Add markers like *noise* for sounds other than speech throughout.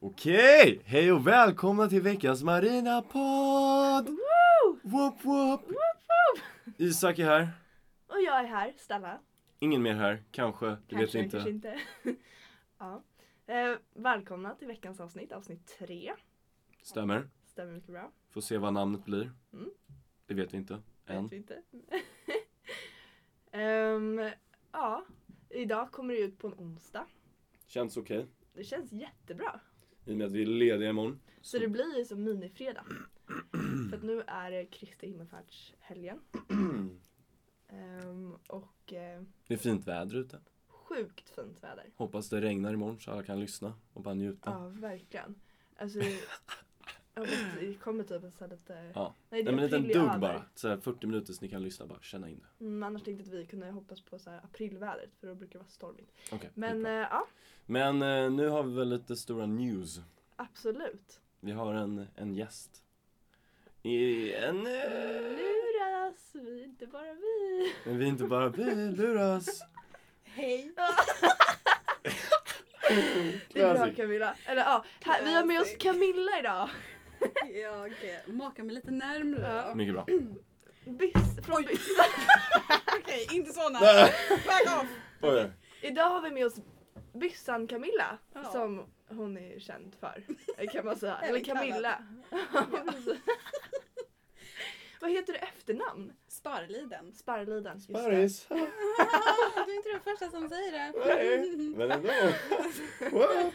Okej, hej och välkomna till veckans marina podd! Whoop whoop! Isak är här, Och jag är här, Stella. ingen mer här, kanske, det vet vi Kanske, inte. kanske inte. *laughs* ja. eh, välkomna till veckans avsnitt, avsnitt tre. Stämmer, Stämmer mycket bra. får se vad namnet blir. Mm. Det vet vi inte, än. Vet vi inte. *laughs* Ehm, ja, idag kommer det ut på en onsdag. Känns okej, Det känns jättebra. i och med att vi är lediga imorgon. Så det blir ju som minifredag. För att nu är det Kristi himmelfärdshelgen. Ehm, och eh, Det är fint väder ute. sjukt fint väder. Hoppas det regnar imorgon så alla kan lyssna och bara njuta. Ja, verkligen. Alltså, jag vet, det kommer typ en sån här lite... Ja. Nej, det Nej men en liten april är dugg över. bara, så här 40 minuter så ni kan lyssna bara, känna in det. Mm, annars tänkte vi kunna hoppas på så här aprilvädret för då brukar det vara stormigt. Okej, det är Men bra. eh, ja, men eh, nu har vi väl lite stora news. absolut. Vi har en, en gäst. I en... eh, Luras vi, inte bara vi. Men vi är inte bara luras. *laughs* Hej! Det är bra Camilla. Eller ja, här, vi har med oss Classic. Camilla idag. Jag eh, makar mig lite närmre Ja. då. Mycket bra. Byss, från byss. Okej, inte såna! Nej. Back off! Oj. Idag har vi med oss Byssan Camilla Ja. som hon är känd för. Kan man *laughs* säga. Eller Även kallad. Camilla. *laughs* Vad heter du efternamn? Sparliden. Sparrliden. just det. Paris. *laughs* Du är inte den första som säger Nej, det. Men ändå. Wow.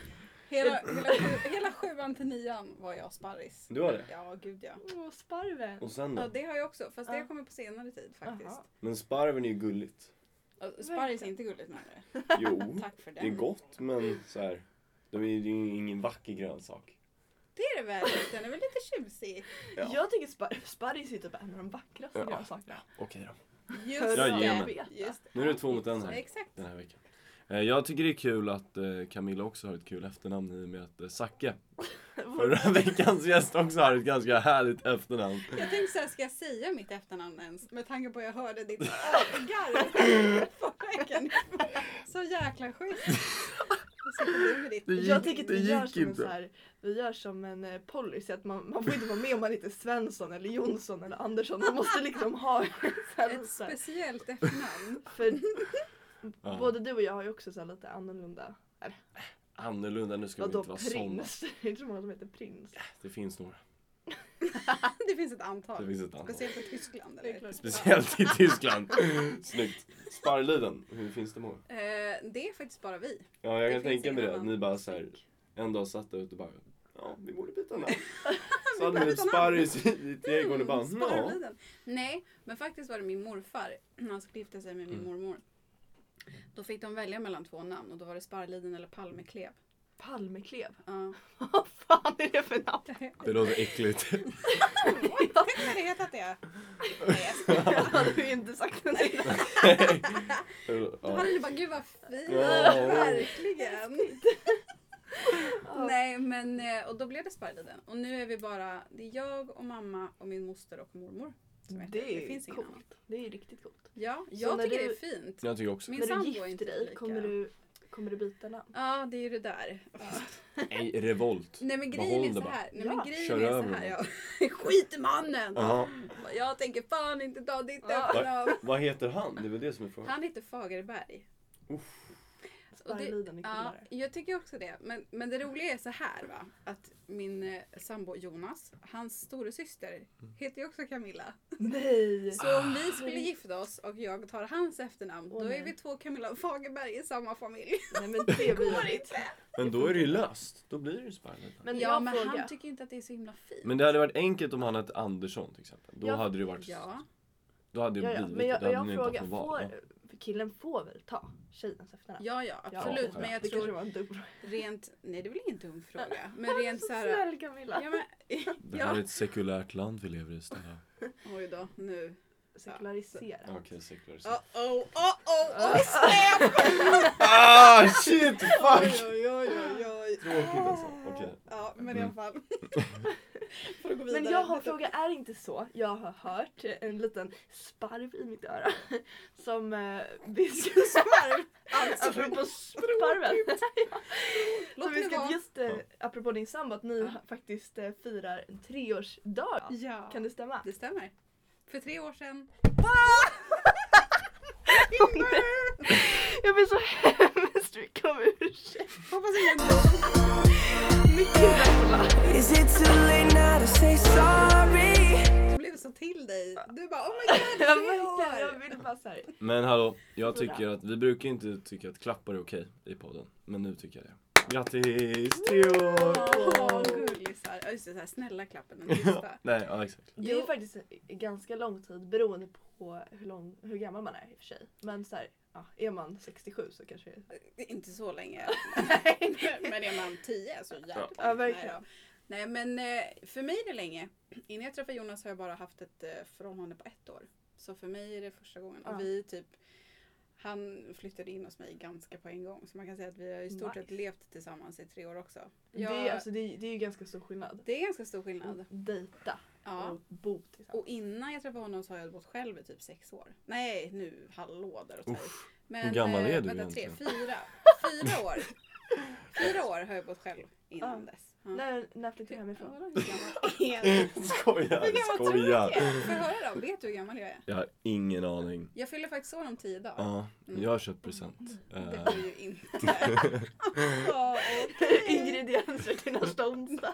Hela, hela, sju- hela sjuan till nian var jag sparris. Du var det? Mm. Ja, gud ja. Åh, sparven. Och sen Ja, då? det har jag också. Fast det Ja. har kommit på senare tid faktiskt. Jaha. Men sparven är ju gulligt. Och Sparris är inte gulligt närmare. Jo, Tack för det. Mm. det är gott men så här. Det är ju ingen vacker grönsak. Det är det väl? Den är väl lite tjusig? Ja. Jag tycker spar- sparris är typ en av de vackraste Ja. grönsakerna. Okej då. Just Jag ger det. mig. Just Nu är det två mot en här. Exakt. den här veckan. Eh, Jag tycker det är kul att eh, Camilla också har ett kul efternamn i och med att eh, Zacke, förra *laughs* veckans gäst, också har ett ganska härligt efternamn. Jag tänkte såhär, ska jag säga mitt efternamn ens? Med tanke på att jag hörde ditt apgarv förra veckan. Så jäkla schysst. Så kom du med *laughs* ditt. Det jag gick- tänker att det vi gör, gick som en inte. så här, vi gör som en eh, policy att man, man får inte vara med om man inte är Svensson eller Jonsson eller Andersson. Man måste liksom ha en så här- Ett så här- speciellt efternamn. För Ja. både du och jag har ju också så här lite annorlunda. Eller, Annorlunda, nu ska vi vadå inte vara sådana. prins? *laughs* Det är inte så många som heter prins. Det finns några. Det finns ett Det antal. finns ett antal. Speciellt i Tyskland Det är eller? klart. Speciellt i *laughs* Tyskland. Snyggt. Sparrliden, hur finns det många? Eh, det är faktiskt bara vi. Ja, jag Det kan finns tänka mig ingen det. annan. Ni bara så här, en dag satt där ute och bara Ja, vi borde *laughs* byta namn. Så Vi hade borde ni byta namn. sparris i i trädgården och bara Mm, ja. Sparliden. Nej, men faktiskt var det min morfar. Han skulle gifta sig med min Mm. mormor. Då fick de välja mellan två namn och då var det Sparliden eller Palmeklev. Palmeklev. *laughs* *laughs* Ja. Vad fan är det för namn? Det låter *laughs* äckligt. Oj, tänk vad det hetat det. Nej, jag skojar. Jag hade ju inte sagt något innan. Då Ja. hade ni bara, gud vad fint, Ja. verkligen. Nej men, eh, och då blev det Sparliden. Och nu är vi bara, det är jag och mamma och min moster och mormor. Som heter. Det är finns ingen annan. coolt. Det är riktigt coolt. Ja, jag när tycker du- det är fint. Jag tycker också. Min När du sambo är gifter inte dig, lika. kommer du, kommer du byta namn? Ja, det är ju det där. Nej, revolt. Nej men Behåll grejen är det så bara. här. Nej, Ja. men grejen Kör är så över här. Ja. *laughs* Skit i mannen! Jaha. Jag tänker fan inte ta ditt Ja. efternamn. Vad heter han? Det är väl det som är frågan. Han heter Fagerberg. Och det- Sparrliden är Ja, coolare. jag tycker också det. Men, men det roliga är så här va. Att min eh, sambo Jonas, hans storasyster, Mm. heter ju också Camilla. Nej! Så om vi skulle gifta oss och jag tar hans efternamn, Ah. Åh, då nej. är vi två Camilla Fagerberg i samma familj. Nej men det blir inte. Men då är det ju löst. Då blir det ju sparrliden. Men ja, jag men frågar. han tycker inte att det är så himla fint. Men det hade varit enkelt om han hette Andersson till exempel. Då Ja. hade det varit... Ja, Då hade det Ja, ja, blivit... men jag, då hade jag ni frågar, haft något val, va? får, för killen får väl ta tjejens efternamn? ja, ja absolut. Ja, men jag det kanske tror var en dum fråga. rent, nej det är väl ingen dum fråga. Men rent så här. Snäll Camilla! Ja, men, Det här är ja. ett sekulärt land vi lever i Stella. Oj då, nu. Sekularisera. Okej, sekulärt. *laughs* Oh, oh, oh, oh, oh, snäpp! Ah shit! Oj, Fuck! oj, oj, oj, oj. Tråkigt alltså. Okej. Ja, men i alla *laughs* fall. Får gå vidare. Men jag har en fråga, är det inte så? Jag har hört en liten sparv i mitt öra *laughs* som eh, *laughs* vi ska Sparv! Alltså, apropå sparven. Som låt Alltså, vi det ska vara. just eh, apropå din sambo att ni Ja. ha- faktiskt eh, firar en treårsdag. Ja, Kan det stämma? det stämmer. För tre år sedan. *laughs* Jag ber så hemskt mycket om ursäkt. Hoppas ingen Mycket väl. Is it too late now to say sorry? Det blev så till dig. Du bara oh my god, Jag, tre verkligen, jag år! ville bara såhär. Men hallå, jag tycker att vi brukar inte tycka att klappar är okej i podden. Men nu tycker jag det. Grattis, tre Åh, år! gullisar. Ja, Just det, så här snälla klappen. *laughs* Den tysta. Nej, ja *laughs* exakt. Det är ju faktiskt ganska lång tid beroende på hur, lång, hur gammal man är i och för sig. Men såhär, ja, är man 67 så kanske *laughs* det är... Det är Inte så länge. men är man tio så jävligt långt. Ja, verkligen. Nej, då. Nej men eh, för mig är det länge. Innan jag träffade Jonas har jag bara haft ett eh, förhållande på ett år. Så för mig är det första gången. Ja. Och vi typ han flyttade in hos mig ganska på en gång. Så man kan säga att vi har i stort sett Nice. levt tillsammans i tre år också. Det, är, Jag- alltså, Mm. det, är, det är ju ganska stor skillnad. det är ganska stor skillnad. Dejta Ja. och bo tillsammans. Och innan jag träffade honom så har jag bott själv i typ sex år. Nej, nu hallå där och Uff, hur gammal är du egentligen? eh, Tre, fyra. *laughs* Fyra år. Fyra år har jag bott själv innan dess. Ja. När, när flyttade du Ja, hemifrån? vadå, hur *laughs* gammal är du? Hur Skojar, gammal tror du jag skojar. är? Får jag höra då? Vet du hur gammal jag är? Jag har ingen aning. Jag fyller faktiskt år om tio dagar. Ja, Mm. jag har köpt present. Det Eh, går ju inte. *laughs* *laughs* Alltså, *laughs* Ingredienser till nästa onsdag.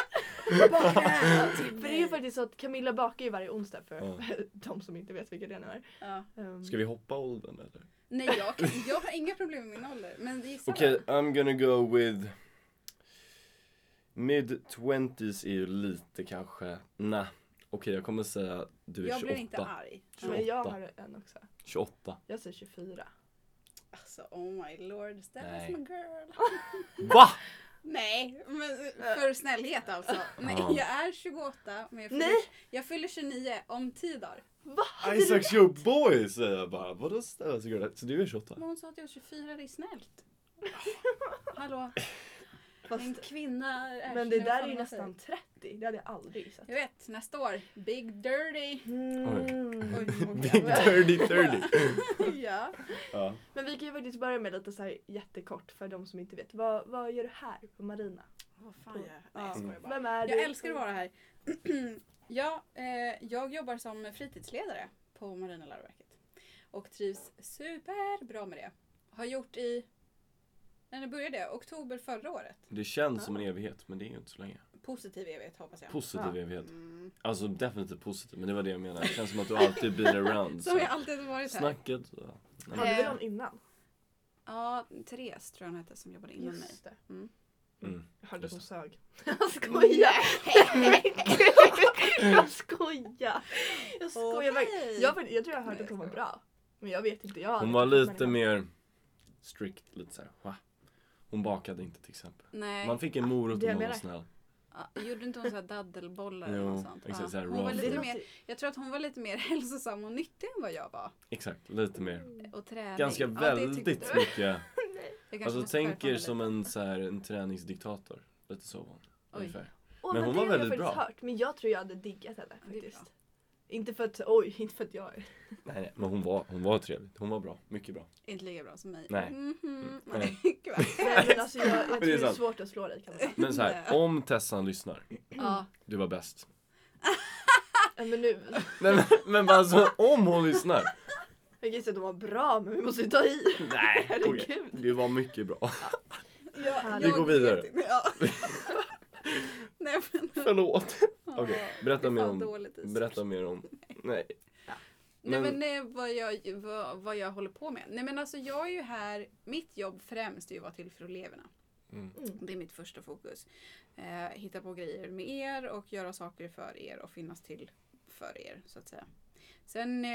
*laughs* Baka till För det är ju mig. faktiskt så att Camilla bakar ju varje onsdag för Ja. *laughs* de som inte vet vilka det är. Ja. Um, Ska vi hoppa åldern eller? Nej, jag, kan- jag har inga problem med min ålder. Men gissa Okej, då. I'm gonna go with Mid 20s är ju lite kanske, nej. Okej jag kommer säga du är Jag 28. blir inte arg. Men jag 28. har en också. 28. Jag säger 24. Alltså oh my lord, ställ Nej. som en girl. VA? Nej, men för snällhet alltså. Nej, Ja. jag är 28 men jag fyller, Nej. jag fyller 29 om 10 dagar. Va? Alltså, Isaac your boy säger jag bara. Vadå ställa sig Så du är 28? Men hon sa att jag är 24, det är snällt. Hallå, en Fast, kvinna är men det 24, där är ju vad nästan säger 30. Det hade jag aldrig gissat. Jag vet, nästa år. Big dirty. Mm. Oj, *laughs* Big oj, oj. dirty 30. *laughs* ja. ja. Men vi kan ju faktiskt börja med lite så här jättekort för de som inte vet. Vad, vad gör du här på Marina? Vad fan jag... Nej, jag skojar bara. Vem är du? Jag älskar att vara här. *clears throat* ja, eh, jag jobbar som fritidsledare på Marina läroverket. Och trivs superbra med det. Har gjort i... När det började? Oktober förra året. Det känns som en evighet men det är ju inte så länge. Positiv evighet hoppas jag. Positiv Ja. evighet. Mm. Alltså definitivt positiv men det var det jag menade. Det känns som att du alltid blir around. *laughs* Som Så. jag alltid har varit här. Eh, Snacket. Så. Hade vi någon innan? Ja, Therese tror jag hon hette som jobbade innan mig. Just det. Mm. Jag hörde att hon sög. *laughs* Jag *laughs* skojar! Mm. jag skojar! Jag skojar verkligen. Okej. jag, jag tror jag har hört Nej, att hon var jag skojar. bra. Men jag vet inte. Jag har Hon aldrig var träffat lite henne. mer strict. Lite såhär va? Hon bakade inte till exempel. Nej, Ah, Man fick en morot om det jag hon var menar. snäll. ja, gjorde inte hon såhär daddelbollar eller Jo, något sånt? exakt, så här hon var raw lite food. mer, jag tror att hon var lite mer *laughs* hälsosam och nyttig än vad jag var. Exakt, lite mer. Och träning. Ganska Ja, det tyckte väldigt du. mycket. Jag kanske Alltså måste tänk skärpa er mig som lite. en, så här, en träningsdiktator. Lite så var hon. Oj. Ungefär. Åh, Men hon det var har jag väldigt faktiskt bra. Hört, men jag tror jag hade diggat henne det är bra. faktiskt. Inte för att, oj, inte för att jag är... Nej, nej. Men hon var, hon var trevlig. Hon var bra. Mycket bra. Inte lika bra som mig. Nej. Mhm. *laughs* Nej. *laughs* Gud vad- Nej *laughs* men alltså jag, jag tror det det är är sant. svårt att slå dig kan man säga. Men så *laughs* här, om Tessan lyssnar. ja. Du var bäst. Ja, Men nu, Nej, men, men bara alltså om hon lyssnar. jag gissar att de var bra men vi måste ju ta i. Nej, *laughs* Herregud. okej. Du var mycket bra. *laughs* Jag, Vi jag går vidare. vet inte. *laughs* Ja. Nej men. Förlåt. Okej, Det berätta är mer fan om... dåligt Isak. Berätta mer om... Nej. Nej Men- men eh, vad jag, vad, vad jag håller på med. Nej men alltså jag är ju här, mitt jobb främst är ju att vara till för eleverna. Mm. Det är mitt första fokus. Eh, hitta på grejer med er och göra saker för er och finnas till för er så att säga. Sen eh,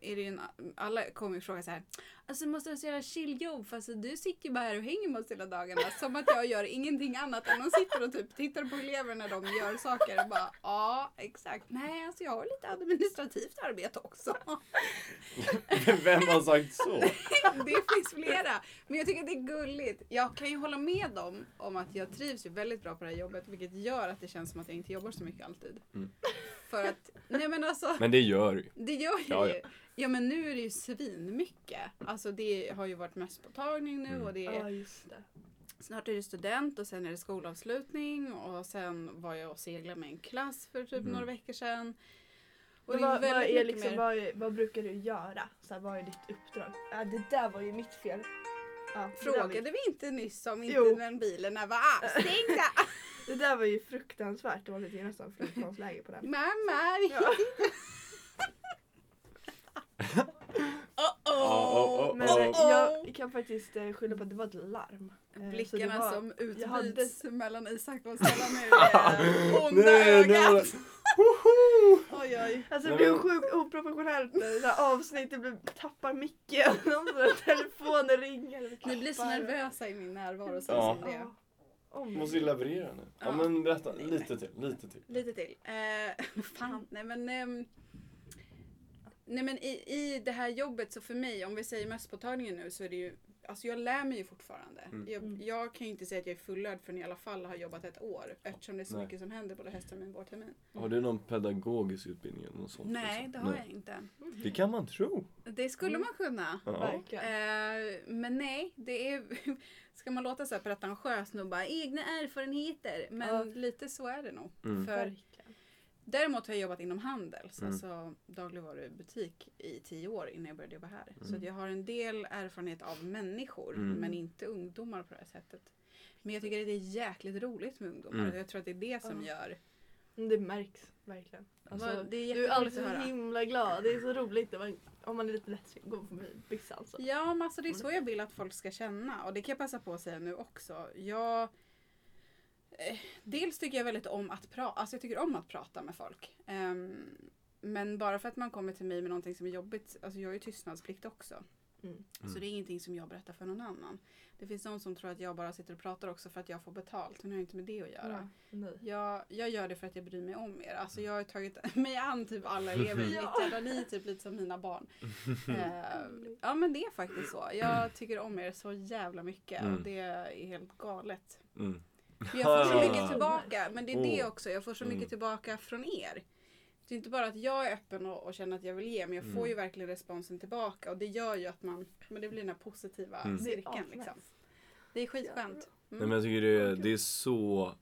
är det ju en, alla kommer ju fråga så här. Alltså måste du så göra chilljobb? För alltså, du sitter ju bara här och hänger med oss hela dagarna. Som att jag gör ingenting annat än att sitter och typ tittar på elever när de gör saker. Och bara ja exakt. Nej alltså jag har lite administrativt arbete också. *laughs* Vem har sagt så? Det finns flera. Men jag tycker att det är gulligt. Jag kan ju hålla med dem om att jag trivs ju väldigt bra på det här jobbet vilket gör att det känns som att jag inte jobbar så mycket alltid. Mm. För att, nej men alltså, Men det gör du ju. det gör ju Ja, ja, ja. men nu är det ju svinmycket. Alltså det har ju varit mässpåtagning nu Mm. och det Ja är just det. Snart är det student och sen är det skolavslutning och sen var jag och seglade med en klass för typ Mm. några veckor sedan. Och Men det är vad, vad, väldigt är mycket liksom, mer- vad, är- vad brukar du göra? Så här, vad är ditt uppdrag? Ja, det där var ju mitt fel. Ja, det där var ju- Frågade vi inte nyss om inte Jo. den bilen var *laughs* avstängda? Det där var ju fruktansvärt dåligt. Det är nästan flygplansläge *laughs* på den. Mamma! vi- *laughs* Ja. Oh, Ja, oh. oh, Men oh. eh, jag kan faktiskt eh, skylla på att det var ett larm. Eh, så det Blickarna var- som utbyts jag hade- mellan Isak *laughs* och Stella nu är onda Nej, nu var ögat. det- Woho! Oj, oj. Alltså Nej, det blir men- sjukt oproportionellt när det där avsnittet blir, tappar micken. *laughs* Någon sån där Telefonen ringer. och Ni blir så klappar. nervösa i min närvaro så Ja. som det. är. Ja. Oh my Måste ju leverera nu. Ja Ja. men berätta, Nej, lite till, lite till. Lite till. Eh, *laughs* fan, nej men. ehm, nej men i, i det här jobbet så för mig, om vi säger mösspåtagningen nu så är det ju, alltså jag lär mig ju fortfarande. Mm. Jag, jag kan ju inte säga att jag är fullärd förrän jag i alla fall har jobbat ett år eftersom det är så Nej. mycket som händer både hösttermin och vårtermin. Har du någon pedagogisk utbildning eller något sånt? Nej, liksom? det har jag inte. Det kan man tro. Det skulle man kunna. Ja. Mm, Verkligen. Eh, men nej, det är... *laughs* Ska man låta så här pretentiös nu bara egna erfarenheter? Men Ja. lite så är det nog. Mm. För, Verkligen. däremot har jag jobbat inom Handels, Mm. alltså dagligvarubutik i tio år innan jag började jobba här. Så Mm. att jag har en del erfarenhet av människor, Mm. men inte ungdomar på det här sättet. Men jag tycker att det är jäkligt roligt med ungdomar Mm. och jag tror att det är det som Ja. gör... Mm, Det märks verkligen. vad- Alltså, det är du är jätteroligt alltid att så höra. himla glad. Det är så roligt när man, om man är lite lättsinnig går förbi bissan. Så. Ja, men alltså det är så jag vill att folk ska känna och det kan jag passa på att säga nu också. Jag, eh, dels tycker jag väldigt om att prata, alltså jag tycker om att prata med folk. Ehm, men bara för att man kommer till mig med någonting som är jobbigt, alltså jag har ju tystnadsplikt också. Mm. Så det är ingenting som jag berättar för någon annan. Det finns någon som tror att jag bara sitter och pratar också för att jag får betalt, men det har ju inte med det att göra. Nej. Jag, jag gör det för att jag bryr mig om er. Alltså jag har Mm. tagit *laughs* mig an *laughs* typ alla elever i Ja. mitt jävla liv, typ lite som mina barn. Eh, ja men det är faktiskt så. Jag tycker om er så jävla mycket och Mm. det är *laughs* helt galet. Mm. Men jag får så Ja. mycket tillbaka, men det är det Oh. också. Jag får så Mm. mycket tillbaka från er. Det är inte bara att jag är öppen och, och känner att jag vill ge, men jag får Mm. ju verkligen responsen tillbaka och det gör ju att man, men det blir den här positiva Mm. Det är cirkeln asnice. liksom. Det är skitskönt. Nej men jag tycker det är, det är så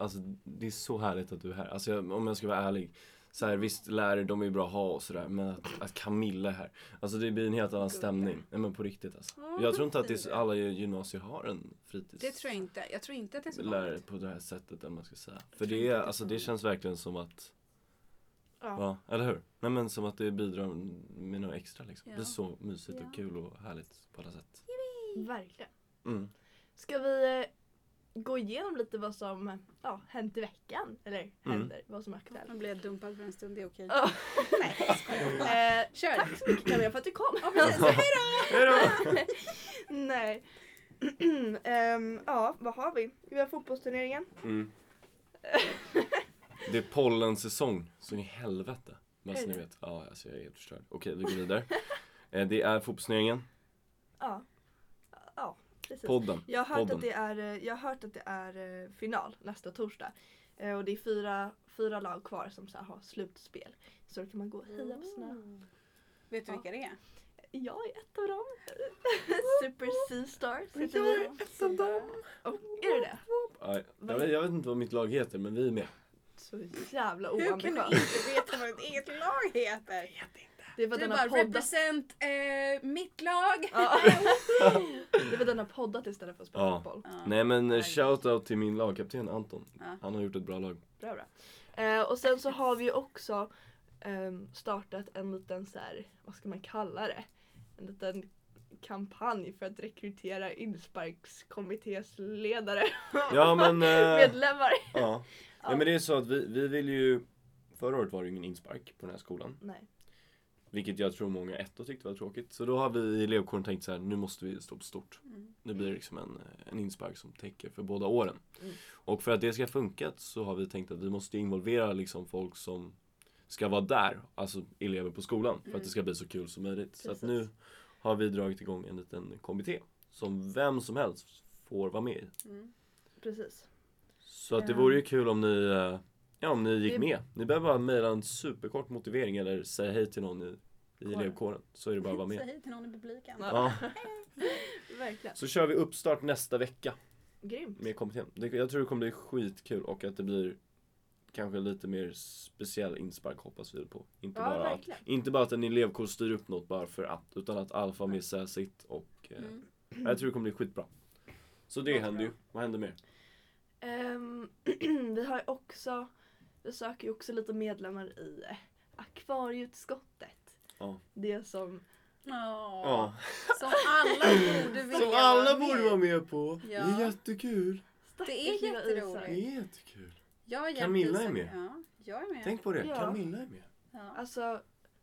Alltså det är så härligt att du är här. Alltså jag, om jag ska vara ärlig. Så här, visst lärare de är ju bra att ha och sådär men att, att Camilla är här. Alltså det blir en helt annan Gulliga. stämning. Nej men på riktigt alltså. Ja, Jag tror inte att det är, det är så- det. alla gymnasier har en fritids Det tror jag inte. Jag tror inte att det är så lärare vanligt. på det här sättet eller vad man ska säga. För tror det inte är, att det är alltså så det vanligt. känns verkligen som att, Ja. ja eller hur? Nej men som att det bidrar med något extra liksom. Ja. Det är så mysigt Ja. och kul och härligt på alla sätt. Verkligen. Mm. Ska vi eh, gå igenom lite vad som ja, hänt i veckan? Eller Mm. händer, vad som är aktuellt. Man blir dumpad för en stund, det är okej. Ja. Nej, jag skojar. *laughs* Eh, Kör! tack så mycket Camilla för att du kom. Hejdå! *laughs* Nej. *clears throat* Ehm, ja, vad har vi? Vi har fotbollsturneringen. Mm. Det är pollensäsong, så in i helvete. Men så ni vet, ja alltså jag är helt förstörd. Okej, vi går vidare. *laughs* Eh, Det är fotbollsturneringen, Ja. Ja, precis. podden. jag, har hört podden. att det är, eh, jag har hört att det är eh, final nästa torsdag. Eh, Och det är fyra, fyra lag kvar som så här har slutspel. Så då kan man gå och heja på sina... Vet du Ja. vilka det är? Jag är ett av dem. *laughs* Super C-stars heter Jag vi. Och, är du det? Ja, jag, vet, jag vet inte vad mitt lag heter, men vi är med. Så jävla Hur kan du oambitiöst. inte veta vad ditt eget lag heter? Det var Du denna bara podda. represent eh, mitt lag. Ja. *laughs* Det var denna poddat istället för att spela Ja. fotboll. Ja. Nej men eh, Nej. shoutout till min lagkapten Anton. Ja. Han har gjort ett bra lag. Bra, bra. Eh, och sen så har vi ju också ehm, startat en liten så här, vad ska man kalla det? En liten kampanj för att rekrytera insparkskommittésledare *laughs* Ja *laughs* men... Eh, medlemmar. ja. Nej men det är så att vi, vi vill ju... Förra året var det ju ingen inspark på den här skolan. Nej. Vilket jag tror många ettor tyckte var tråkigt. Så då har vi i elevkåren tänkt så här, nu måste vi stå på stort. Mm. Nu blir det liksom en, eh, en inspark som täcker för båda åren. Mm. Och för att det ska funka så har vi tänkt att vi måste involvera liksom folk som ska vara där, alltså elever på skolan, för att det ska bli så kul som möjligt. Så att Precis. nu har vi dragit igång en liten kommitté som vem som helst får vara med i. Mm. Precis. Så att det Ja. vore ju kul om ni, eh, ja, om ni Det- gick med. Ni behöver bara mejla en superkort motivering eller säga hej till någon i, i Kåren. elevkåren. Så är det bara *laughs* att vara med. hej till någon i publiken. Ja. Ja. *laughs* Verkligen. Så kör vi uppstart nästa vecka. Grymt. mer kompetent. Det- Jag tror det kommer bli skitkul och att det blir kanske lite mer speciell inspark hoppas vi på. Inte, Ja, bara, att, verkligen. inte bara att en elevkår styr upp något bara för att utan att alla får med sig sitt och eh, Mm. jag tror det kommer bli skitbra. Så det Vad händer bra. ju. Vad händer mer? Ehm, *clears throat* vi har ju också, vi söker ju också lite medlemmar i eh, akvarieutskottet. Ja. Det som, Ja. Ja. Som alla borde vilja Som alla borde vara med på. Ja. Det är jättekul. Det är stackars lilla jätteroligt. Det Isak. är jättekul. Jag hjälper Camilla är Isak. med. Ja, jag är med. Tänk på det. Ja. Camilla är med. Ja. Alltså,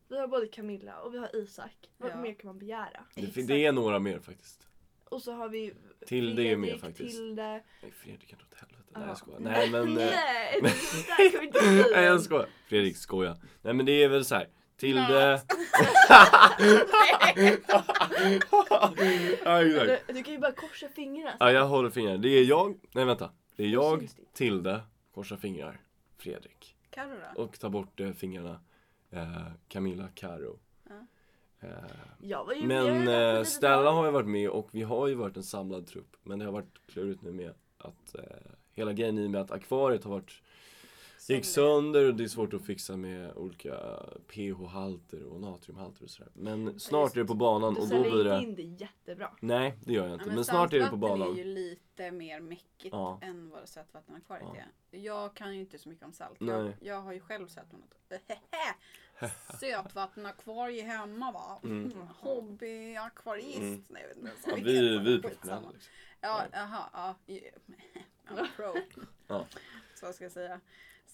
vi har både Camilla och vi har Isak. Vad Ja. mer kan man begära? Det, fin- Exakt. det är några mer faktiskt. Och så har vi Tilde är med Fredrik, faktiskt. Tilde. Nej, Fredrik kan dra åt helvete. Nej jag Ja. skojar. Nej *laughs* men. eh, Nej, *laughs* det där kommer inte bli. Nej jag skojar. Fredrik skojar. Nej men det är väl så här. *laughs* Tilde. ja, exakt. eh, Du, du kan ju bara korsa fingrarna. ja jag håller fingrarna. Det är jag. Nej vänta. Det är jag, Syns det? Tilde, korsa fingrar, Fredrik. Carro då? Och ta bort eh, fingrarna. Eh, Camilla, Karo. Ja. Eh, Jag var ju med Men där på eh, lite Stella tag. har ju varit med och vi har ju varit en samlad trupp Men det har varit klurigt nu med att eh, Hela grejen i och med att akvariet har varit Gick sönder och det är svårt att fixa med olika pH-halter och natriumhalter och sådär Men snart är det på banan Du och då säljer blir inte det in det jättebra. Nej det gör jag Ja, inte men snart är det på saltvatten är banan ju lite mer mäckigt Ja. än vad det sötvattenakvariet Ja. är. Jag kan ju inte så mycket om salt. Jag, Nej. jag har ju själv *laughs* sötvattenakvarie sötvattenakvarie hemma va. *laughs* Mm. Hobbyakvarist. Mm. Nej, jag vet inte ens ja, vad det Vi, heter. vi är Skitsamma. professionella liksom. Ja, jaha. Ja. i- *laughs* I'm pro. Ja. Så jag ska jag säga.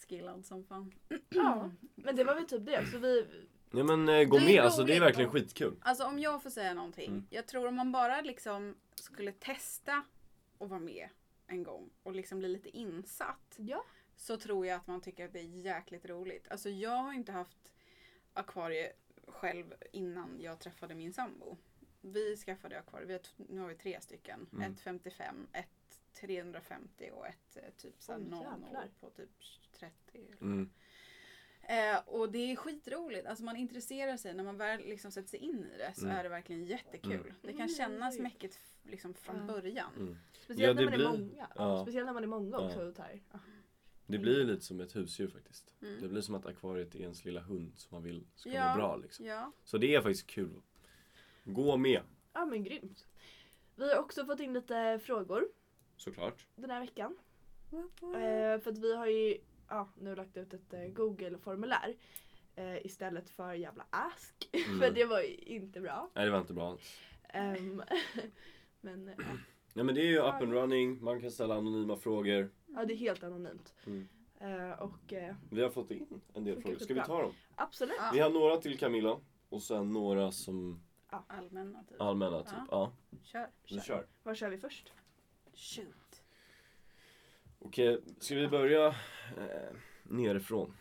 Skillad som fan. Ja, men det var väl typ det. Så vi, Nej men eh, gå Det är med alltså det är roligt. verkligen skitkul Alltså om jag får säga någonting. Mm. Jag tror om man bara liksom skulle testa att vara med en gång och liksom bli lite insatt. ja. så tror jag att man tycker att det är jäkligt roligt. Alltså jag har inte haft akvarie själv innan jag träffade min sambo. Vi skaffade akvarie, vi har t- nu har vi tre stycken. Mm. Ett 55, ett 350 och ett eh, typ såhär Oj, nano jävlar. på typ 30. mm. Eh, och det är skitroligt, alltså man intresserar sig när man väl liksom sätter sig in i det så Mm. är det verkligen jättekul. Det Mm, kan kännas oj. mäckigt f- liksom från Ja. början. Mm. Speciellt Ja, när det man är blir- många. ja. Speciellt när man är många Ja. också. och tar- Ja. Det blir ju lite som ett husdjur faktiskt Mm. Det blir som att akvariet är ens lilla hund som man vill ska Ja. må bra liksom Ja, Så det är faktiskt kul. Gå med, ja men grymt. Vi har också fått in lite frågor såklart. den här veckan. Mm. Eh, för att vi har ju ja, nu lagt ut ett eh, Google-formulär eh, istället för jävla ask. *laughs* för Mm. det var ju inte bra. Nej, det var inte bra. Ehm, *laughs* men eh, Nej men det är ju up and running, man kan ställa anonyma frågor. ja, det är helt anonymt. Mm. Eh, och eh, Vi har fått in en del Funkar frågor, ska vi skitbra. ta dem? absolut. Ja. Vi har några till Camilla och sen några som allmänna typ. allmänna typ. Ja, Kör. vi kör. Vad kör vi först? Shoot. Okej, ska vi börja eh, nerifrån?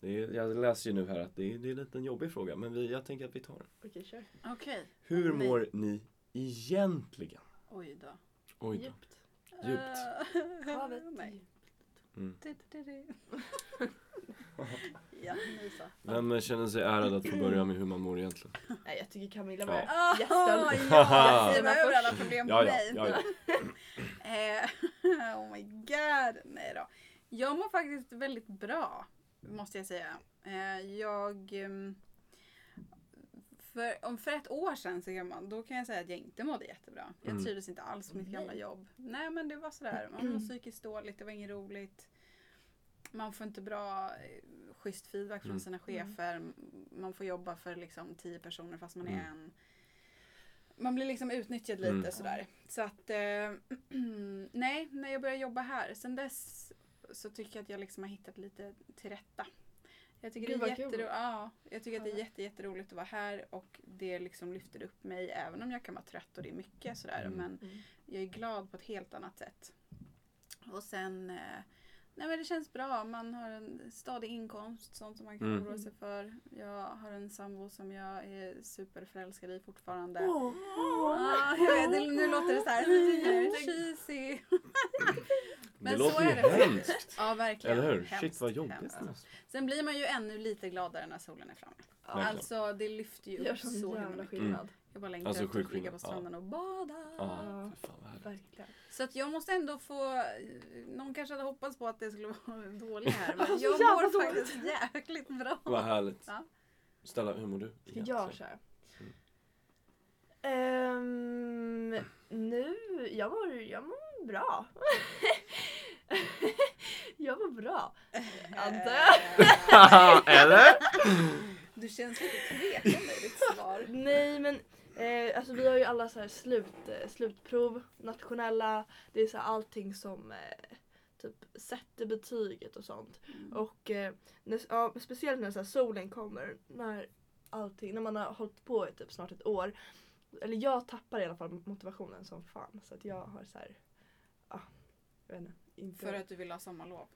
Det är, jag läser ju nu här att det är, det är lite en jobbig fråga men vi, jag tänker att vi tar den. Okej, kör. Okej. Hur Nej. mår ni egentligen? Oj då. Oj då. Djupt. Djupt. Eh, Havet. *laughs* Nej. Mm. Du, du, du, du. ja, nu så. Vem känner sig ärad att *clears throat* få börja med hur man mår egentligen? Nej, jag tycker Camilla Ja. var *laughs* Ah, ja, Gästen. jag skriver över alla problem på Ja, ja, mig. ja, ja. Eh, *laughs* oh my god. Nej då. Jag mår faktiskt väldigt bra. Måste jag säga. Eh, jag... ehm, För, om för ett år sedan så kan man, då kan jag säga att jag inte mådde jättebra. Jag Mm. trivdes inte alls med mitt gamla jobb. Nej men det var sådär, man var psykiskt dåligt, det var inget roligt. Man får inte bra eh, schysst feedback från Mm. sina chefer. M- Man får jobba för liksom tio personer fast man är Mm. en. Man blir liksom utnyttjad lite Mm. sådär. Så att eh, *clears throat* nej, när jag började jobba här. Sen dess så tycker jag att jag liksom har hittat lite till rätta. Jag tycker, Gud, det, är vad kul. jättero- ja, jag tycker att det Ja. är jätte, jätteroligt att vara här och det liksom lyfter upp mig även om jag kan vara trött och det är mycket sådär. Mm. Men Mm. jag är glad på ett helt annat sätt. Och sen, eh, nej men det känns bra. Man har en stadig inkomst, sånt som man kan Mm. oroa sig för. Jag har en sambo som jag är superförälskad i fortfarande. Åh. Ah, jag vet, det- nu låter det så här lite cheesy. Men det så låter ju är det. hemskt. Ja verkligen. Eller hur? Hemskt, Shit vad jobbigt. hemskt. Sen blir man ju ännu lite gladare när solen är framme. Verkligen. Alltså det lyfter ju Gör upp sån så himla jävla mycket. Mm. skillnad. Jag bara längtar Alltså, efter sjuk att ligga skillnad. på stranden och bada. Ja, fy fan vad härligt. Mm. Verkligen. Så att jag måste ändå få, någon kanske hade hoppats på att det skulle *laughs* vara dåligt här men Alltså, jag jävla mår dåligt. faktiskt jäkligt bra. Vad härligt. Ja. Stella, hur mår du? Ska jag egentligen? köra? Ehm, nu, jag mår, jag mår bra. *laughs* jag mår bra. *laughs* Antar jag. *laughs* Eh, Eller? Du känns lite tvekande i ditt *laughs* svar. Nej men eh, alltså vi har ju alla så här slut, eh, slutprov, nationella, det är så här allting som eh, typ sätter betyget och sånt. Och eh, när, ja, speciellt när så här solen kommer, när allting, när man har hållit på i typ snart ett år. Eller jag tappar i alla fall motivationen som fan så att jag har så här, ja, jag vet inte. inte För att du vill ha sommarlov.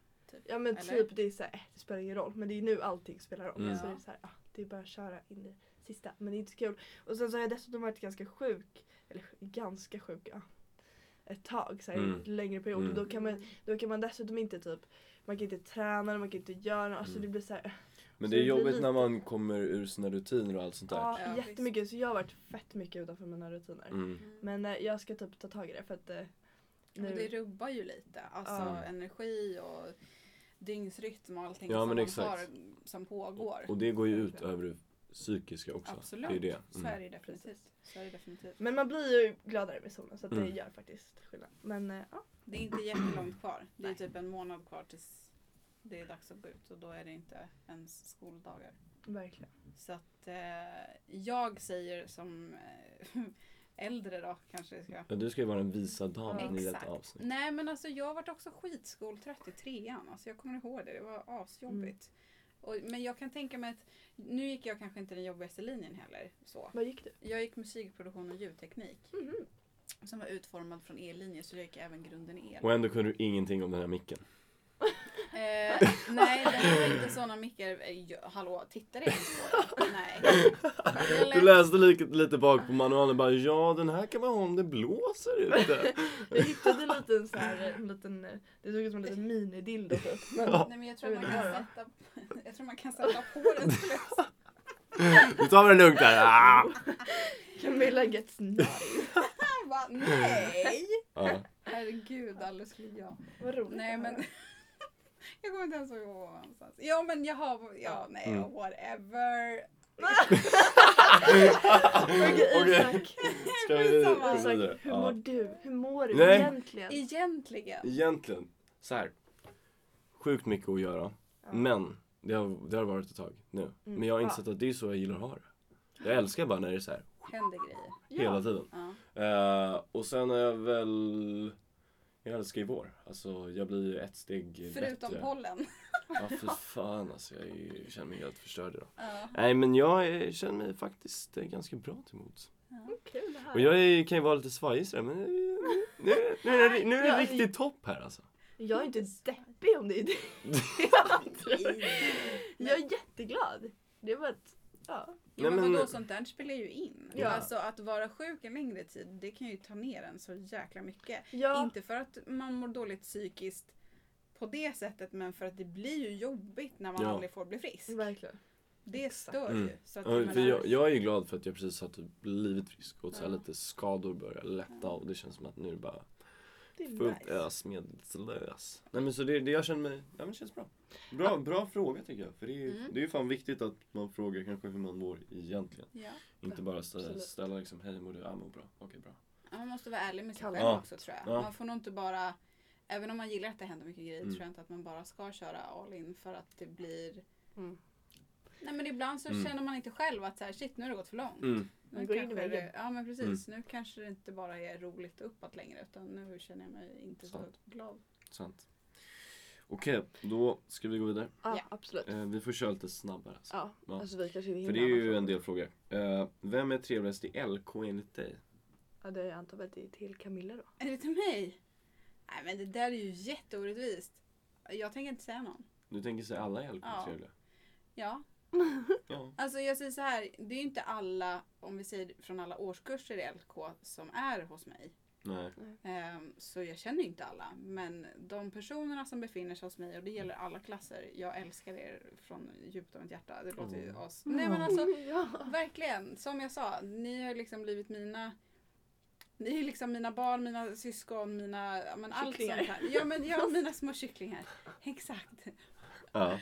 Ja men eller? typ det är så här, eh, det spelar ingen roll men det är nu allting spelar roll. Mm. Så det är så här, ah, det är bara att köra in i sista men det är inte så kul. Och sen så har jag dessutom varit ganska sjuk, eller sj- ganska sjuk ja, ett tag, så här, Mm. en längre period. Mm. Och då kan, man, då kan man dessutom inte typ, man kan inte träna, man kan inte göra något. Alltså Mm. det blir så här, Men Så det är det blir jobbigt lite- när man kommer ur sina rutiner och allt sånt där. ja, Ja, visst. ah, jättemycket. Så jag har varit fett mycket utanför mina rutiner. Mm. Men eh, jag ska typ ta tag i det för att eh, Men nu, det rubbar ju lite. Alltså Ja. energi och dygnsrytm och allting Ja, som men man exakt. har som pågår. Och det går ju ut över det psykiska också. Absolut. Det är ju det. Så är Mm. det ju definitivt. Så är det, definitivt. men man blir ju gladare med solen så att det Mm. gör faktiskt skillnad. Men eh, ja, det är inte jättelångt kvar. Det är typ en månad kvar tills det är dags att gå ut och då är det inte ens skoldagar. verkligen. Så att eh, jag säger som eh, *laughs* äldre då kanske ska Ja, du ska ju vara den visa damen i Exakt. detta avsnitt. Nej men alltså jag varit också skitskoltrött i trean. Alltså jag kommer ihåg det, det var asjobbigt. Och, men jag kan tänka mig att, nu gick jag kanske inte den jobbigaste linjen heller. Så. Vad gick du? Jag gick musikproduktion och ljudteknik. Mhm. Som var utformad från E-linje så jag gick även grunden E. i el. Och ändå kunde du ingenting om den här micken. Eh, nej, det här var inte sådana mickar. Eh, jag- Hallå, tittar jag ens på det? Nej. Du Eller, läste lite, lite bak på manualen och bara ja den här kan man ha om det blåser *laughs* ute. Jag hittade en liten så här, en liten, eh, det såg ut som en liten minidildo typ. Men, nej men jag tror, att man kan sätta, jag tror man kan sätta på den. skulle jag säga. Nu tar vi det lugnt här. Ah! Camilla gets nice. Jag bara, Nej! Ja. Herregud, alldeles skulle jag. Vad roligt. Nej att men höra. *laughs* Jag kommer inte ens ihåg vad jag var Ja men jag har, ja nej Mm. whatever. Okej Okej. Isak, Ska vi Skitsamma. gå vidare? Isak, hur mår Ja. du? Hur mår du Nej. egentligen? Egentligen. Egentligen, så här. Sjukt mycket att göra. Men det har, det har varit ett tag nu. Mm, Men jag har Ja. insett att det är så jag gillar att ha det. Jag älskar bara när det är så här Händer grejer. hela tiden. Ja. Eh, och sen är jag väl... Jag älskar ju vår. Alltså jag blir ju ett steg Förutom bättre. pollen. Ja fy fan alltså jag är ju, känner mig helt förstörd idag. Ja. Nej men jag eh, känner mig faktiskt eh, ganska bra till mods. Kul det här. Och jag är, kan ju vara lite svajig sådär men eh, nu, nu, nu, är det, nu är det Ja, riktigt topp här alltså. Jag är inte deppig om *laughs* det är det. Jag är jätteglad. Det var ett, ja. Ja, men men- vadå sånt där spelar ju in. Ja. Alltså att vara sjuk en längre tid det kan ju ta ner en så jäkla mycket. ja. Inte för att man mår dåligt psykiskt på det sättet men för att det blir ju jobbigt när man Ja. aldrig får bli frisk. Verkligen. Det stör Mm. ju. Så att Ja, menar- för jag, jag är ju glad för att jag precis har typ blivit frisk och så här Ja. lite skador börjar lätta och det känns som att nu är det bara Det är fullt nice. ös medelslös. Nej men så det, det jag känner mig, ja men det känns bra. Bra, bra fråga tycker jag. För det är, ju- Mm. det är ju fan viktigt att man frågar kanske hur man mår egentligen. Ja. Inte bara ställa, Absolut. ställa liksom, hej mår du? Ja mår bra, okej bra. Ja, Man måste vara ärlig med sig Kalle. själv Ja. också tror jag. Ja. Man får nog inte bara, även om man gillar att det händer mycket grejer Mm. tror jag inte att man bara ska köra all in för att det blir Mm. Nej men ibland så Mm. känner man inte själv att så här, shit nu har det gått för långt. Mm. Nu Man går in i kanske väggen. det, Ja men precis, nu kanske det inte bara är roligt och uppåt längre utan nu känner jag mig inte så Sant. glad. Sant. Okej, då ska vi gå vidare. Ja, Ja. absolut. Eh, vi får köra lite snabbare. Alltså. Ja, Ja. alltså vi kanske inte För hinner. det är ju alla en frågor. del frågor. Eh, vem är trevligast i LK enligt dig? Ja, det är jag antar att det är till Camilla då. Är det till mig? Nej men det där är ju jätteorättvist. Jag tänker inte säga någon. Du tänker sig alla i LK Ja. är trevliga? Ja. Ja. Alltså jag säger så här, det är ju inte alla, om vi säger från alla årskurser i LK som är hos mig. Nej. Ehm, Så jag känner inte alla. Men de personerna som befinner sig hos mig, och det gäller alla klasser, jag älskar er från djupet av mitt hjärta. Det låter ju Mm. as... Nej men alltså, *laughs* ja. verkligen. Som jag sa, ni har liksom blivit mina... Ni är liksom mina barn, mina syskon, mina... ja, Men allt Kycklingar. sånt här. Ja *laughs* men jag har mina små kycklingar. Exakt. Ja.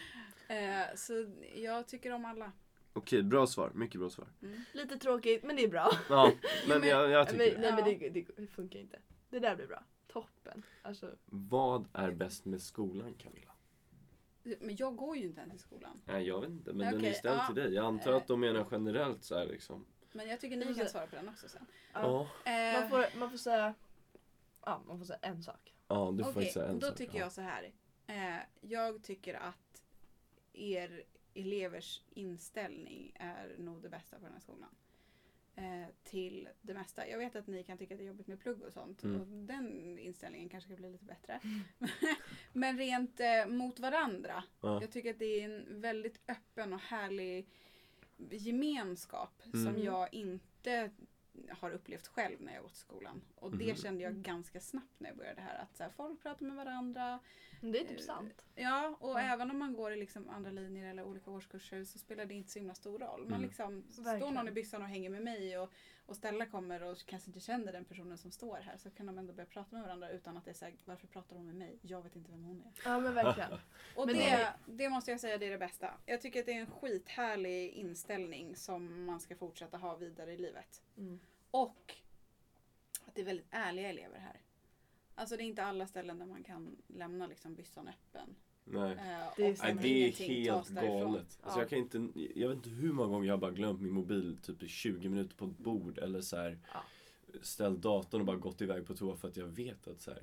Eh, Så jag tycker om alla. Mm. Okej, bra svar. Mycket bra svar. Lite tråkigt men det är bra. Ja, *laughs* men- men jag, jag Men, tycker det. nej men det, det, det funkar inte. Det där blir bra. Toppen. Alltså, Vad är bäst med skolan Camilla? Men jag går ju inte ens i skolan. Nej, jag vet inte. Men den är Okej, ju ställd ja. till dig. Jag antar att de menar generellt så här liksom. Men jag tycker ni kan svara på den också sen. ja. Eh, man, får, man får säga Ja, man får säga en sak. Ja, du får Okej, faktiskt säga en då sak. tycker jag så här. Eh, jag tycker att er elevers inställning är nog det bästa på den här skolan. Eh, till det mesta. Jag vet att ni kan tycka att det är jobbigt med plugg och sånt. Mm. Och den inställningen kanske kan bli lite bättre. *laughs* Men rent eh, mot varandra. Ja. Jag tycker att det är en väldigt öppen och härlig gemenskap som Mm. jag inte har upplevt själv när jag gått i skolan. Och det Mhm. kände jag ganska snabbt när jag började här. Att så här, folk pratar med varandra. Men Det är typ sant. Ja, och Mm. även om man går i liksom andra linjer eller olika årskurser så spelar det inte så himla stor roll. Man Mm. liksom, står Verkligen. någon i byssan och hänger med mig och, och Stella kommer och kanske inte känner den personen som står här så kan de ändå börja prata med varandra utan att det är såhär, varför pratar hon med mig? Jag vet inte vem hon är. Eh, Ja *laughs* men verkligen. Och Men det, det måste jag säga det är det bästa. Jag tycker att det är en skithärlig inställning som man ska fortsätta ha vidare i livet. Mm. Och att det är väldigt ärliga elever här. Alltså det är inte alla ställen där man kan lämna liksom byssan öppen. Nej. Eh, Det är sant. och Nej, men det är ingenting tas helt därifrån. galet. Alltså, Ja. jag, kan inte, jag vet inte hur många gånger jag har bara glömt min mobil typ i 20 minuter på ett bord eller så här, Ja. ställt datorn och bara gått iväg på toa för att jag vet att så här,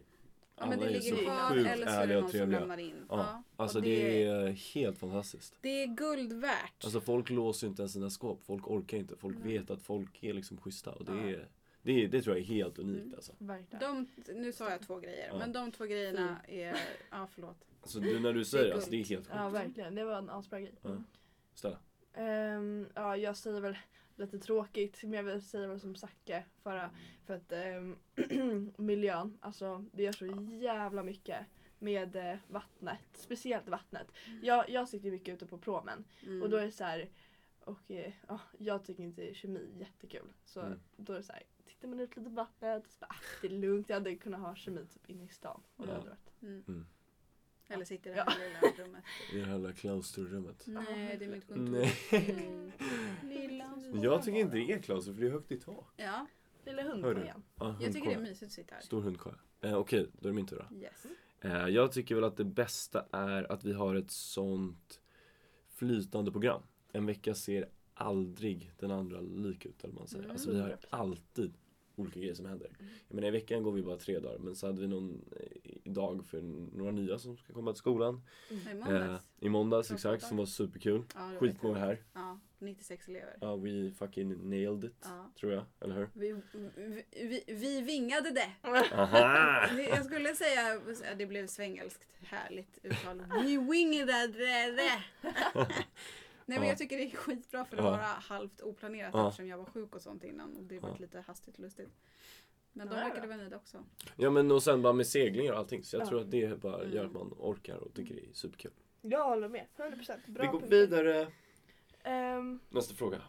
Ja, men alla det är ligger så kvar sjukt eller så är det ärliga någon och som trevliga. lämnar in. Ja, Ja. Alltså och det... det, är helt fantastiskt. det är guld värt. Alltså folk låser ju inte ens sina skåp, folk orkar inte, folk Nej. vet att folk är liksom schyssta och det, Ja. är, det, är, det tror jag är helt unikt Mm. alltså. Verkligen. de, nu sa jag två grejer, Ja. men de två grejerna är... Ja, förlåt. Alltså du, när du säger det, guld. alltså, det är helt sjukt. Ja verkligen, det var en asbra grej. Ja. Stella. Ehm, ja, jag säger väl lite tråkigt, men jag vill säga väl som Zacke förra. För att ehm, *clears throat* miljön, alltså det gör så jävla mycket med eh, vattnet. Speciellt vattnet. Jag, jag sitter ju mycket ute på promen Mm. och då är det så här och eh, ja, jag tycker inte kemi är jättekul. Så Mm. då är det så här, tittar man ut lite på vattnet och så bara, ah, det är lugnt. Jag hade kunnat ha kemi typ inne i stan. Och det Ja. hade varit. Mm. Eller sitter i det Ja. här lilla rummet. I det här lilla klausterrummet. Nej, det är mitt kontor. Nej. *laughs* Mm. Lilla Jag tycker inte det är klauster för det är högt i tak. Ja, Lilla Hörru. hundkojan. Ja, jag tycker det är hundkoja. mysigt att sitta här. Stor hundkoja. Eh, Okej, då är det min tur då. Yes. Eh, jag tycker väl att det bästa är att vi har ett sånt flytande program. En vecka ser aldrig den andra lik ut, eller vad man säger. Mm. Alltså vi har 100%. alltid olika grejer som händer. Jag menar i veckan går vi bara tre dagar, men så hade vi någon eh, dag för några nya som ska komma till skolan. I Eh, måndags. I måndags, Från exakt, som var superkul. Ja, det var Skitmånga jätteroligt. här. Ja, 96 elever. Ja, we fucking nailed it, Ja. tror jag. Eller hur? Vi, vi, vi, vi vingade det! Aha! Det- Jag skulle säga, det blev svengelskt härligt uttal. We wingade det! *laughs* Nej men Ja. jag tycker det är skitbra för det Ja. var halvt oplanerat Ja. eftersom jag var sjuk och sånt innan och det var Ja. lite hastigt lustigt. Men de Ja, ja. verkade vara nöjda också. Ja men och sen bara med seglingar och allting. Så jag Ja. tror att det bara gör Mm. att man orkar och tycker det är superkul. Jag håller med, 100%. Bra vi går punkter. vidare. Ehm, Nästa fråga.